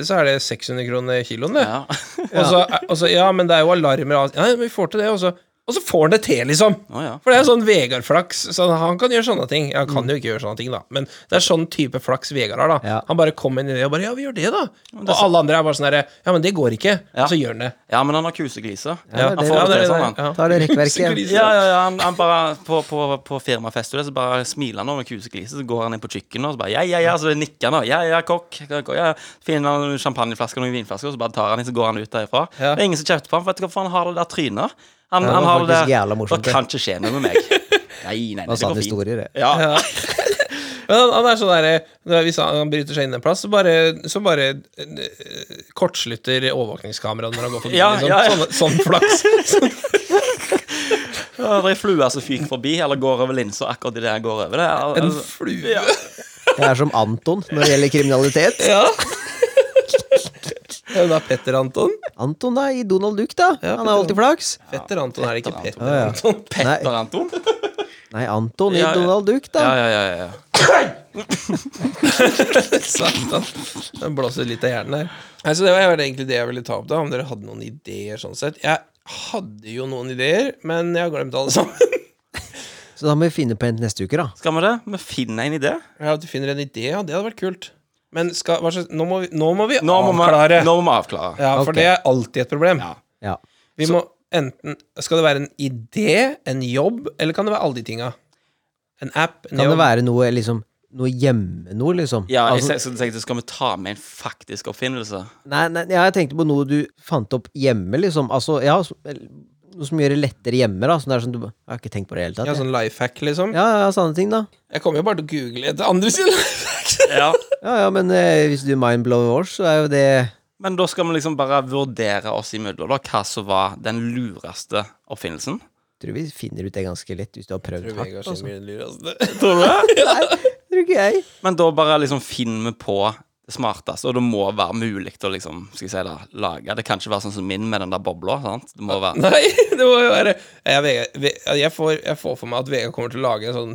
så er det 600 kroner kiloen, det.
Ja.
Og så, og så, ja, men det er jo alarmer og alt. Nei, men vi får til det, og så Og så får han det til, liksom.
Å ja. Mm.
For det er sånn Vegard-flaks. Så han kan gjøre sånne ting. Ja, Han kan jo ikke gjøre sånne ting, da, men det er sånn type flaks Vegard har. da
Ja.
Han bare kommer inn i det og bare 'Ja, vi gjør det, da'. Og alle andre er bare sånn herre 'Ja, men det går ikke',
Ja.
og så gjør han det.
ja, men han har kuseglise.
Ja,
han
det-
får
Ja,
det
det-
til sånn,
det-
han.
ja.
Ta det rekkverket igjen.
Kuseglise.
Ja, ja, ja, han, han bare På, på, på firmafest og det, så bare smiler han over kuseglise, så går han inn på kjøkkenet og så bare Ja, ja, ja, så nikker han og Ja, ja, kokk. kokk, Ja, ja. finner han noen champagneflasker og noen vinflasker, og så bare tar han inn, så går han ut derifra.
Ja.
Det er ingen som kjefter på ham, for vet du hvorfor han har det der trynet? Han,
det
han
var
har det
faktisk jævla morsomt,
Det kan ikke skje noe med meg. Nei, nei, nei,
Han
det
sa
går fint.
historier, det.
Ja. [laughs]
Ja. [laughs] Men han, han er sånn derre når- Hvis han, han bryter seg inn en plass, så bare, så bare eh, kortslutter overvåkningskameraet når han går forbi.
Ja,
liksom.
ja, ja.
Sånn, sånn flaks.
Ja, Det er ei flue som fyker forbi, eller går over linsa akkurat idet jeg går over det. Al-
En
altså-
flue.
[laughs] Ja.
Jeg er som Anton når det gjelder
[laughs]
kriminalitet.
Ja. [laughs] Ja, men da Petter Anton.
Anton da, i Donald Duck, da.
Ja,
Han har alltid flaks.
Petter Anton er ikke Petter
Ja, ja.
Anton.
Nei,
Petter Anton?
nei, Anton i
Ja, ja.
Donald Duck, da.
Ja, ja, ja. ja.
Satan. Den sånn. blåser litt av hjernen her. Nei, så det var var egentlig det jeg ville ta opp, da om dere hadde noen ideer. sånn sett Jeg hadde jo noen ideer, men jeg har glemt alle sammen. [laughs]
Så da må vi finne på en til neste uke, da.
Skal vi det? Vi finner en idé.
Ja, At du finner en idé, ja, det hadde vært kult. Men skal, hva slags, nå, må vi, nå må vi
Nå må vi,
avklare.
nå må vi avklare.
ja, for
Ok.
det er alltid et problem.
Ja.
Ja.
Vi må enten Skal det være en idé, en jobb, eller kan det være alle de tinga? En app, en
Kan det
jobb
være noe liksom Noe hjemme noe, liksom?
Ja, jeg
Altså,
tenkte- så tenkte jeg, skal vi ta med en faktisk oppfinnelse?
nei, nei, ja, jeg tenkte på noe du fant opp hjemme, liksom. Altså, ja, som- noe som gjør det lettere hjemme, da. Sånn der som du Jeg har ikke tenkt på det i det hele tatt.
Ja,
jeg.
sånn life hack, liksom?
Ja, ja, sånne ting, da.
Jeg kommer jo bare til å google etter andre sine
Ja.
Ja, ja, men eh, hvis du mindblow oss, så er jo det
[laughs] Men da skal vi liksom bare vurdere oss imellom, da, hva som var den lureste oppfinnelsen.
Tror vi finner ut det ganske lett, hvis du har prøvd hardt.
Vegard
Altså.
sin blir den
[laughs]
lureste.
Tror du det?
Tror ikke jeg.
Men da bare liksom finner vi på det smarteste, og det må være mulig å liksom, skal jeg si det, lage. Det kan ikke være sånn som min med den der bobla, sant? Det må
[laughs]
være
Nei, det må jo være jeg, Vegard- Ve- altså, jeg, får, jeg får for meg at Vegard kommer til å lage en sånn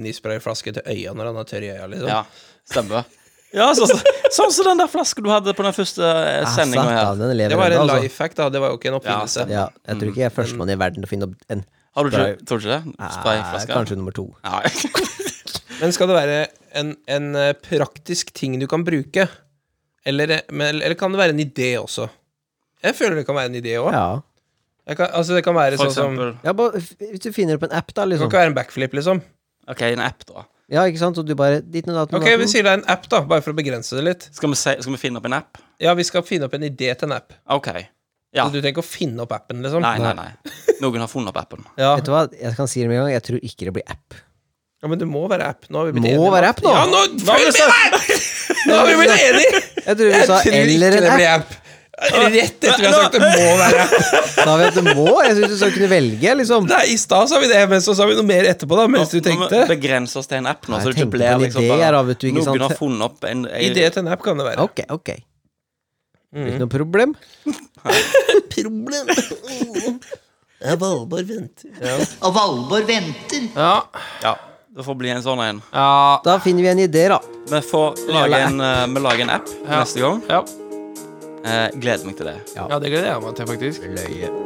minisprayflaske til øya når han er tørr i øya, liksom.
Ja, stemmer. Ja, så, så, sånn som den der flasken du hadde på den første eh,
Ah,
sendinga her.
satan, den lever
Det var
ennå,
en
altså.
life hack, da. Det var jo ikke en
altså,
oppfinnelse.
Ja, jeg tror ikke
Mm.
jeg er førstemann i verden til å finne opp en
Har du ikke, tror du ikke det?
Nei,
Sprayflaske?
Ah, Kanskje nummer to.
[laughs] Nei.
Men skal det være en, en eh, praktisk ting du kan bruke? Eller, eh, men, eller kan det være en idé også? Jeg føler det kan være en idé òg.
Ja.
Altså, det kan være
For
sånn som
eksempel.
ja bare, f- hvis du finner opp en app,
Det
da,
kan
liksom.
ikke være en backflip, liksom.
OK, en app, da.
Ja, ikke sant? Og du bare ditt og datten
Ok, vi sier det er en app, da, bare for å begrense det litt.
Skal vi, se, skal vi finne opp en app?
Ja, vi skal finne opp en idé til en app.
OK. Ja.
Så du trenger ikke å finne opp appen, liksom.
Nei, nei, nei. Noen har funnet opp appen.
Ja.
Vet du hva, jeg kan si det med en gang, jeg tror ikke det blir app.
ja, men det må være app. Nå har vi blitt
Må
enige.
være app nå?
Ja, nå, nå, er vi enige! nå har vi blitt enige!
Jeg tror vi
Jeg
sa
tror ikke
eller en
det
app.
blir app. Rett etter vi har sagt det må være app.
Da har vi at det må. Jeg syns du skal kunne velge, liksom.
[laughs] Nei, i stad sa vi det, men så sa vi noe mer etterpå, da, mens du tenkte.
Begrense oss til en app nå,
Nei,
så det
jeg
ikke
tenkte
blir
på en
liksom
idé her, da, vet du, ikke sant?
Noen har funnet opp en, en
Idé til en app kan det være.
Ok, ok.
Mm.
Ikke noe problem.
Problem. Ja, Valborg venter.
Og Valborg venter.
Ja,
Ja. Det får bli en sånn en.
ja,
Da finner vi en idé, da.
Vi får lage en, eh, vi lager en app
Ja.
neste gang.
ja.
Eh, gleder meg til det.
ja det gleder jeg meg til, faktisk.
Løye.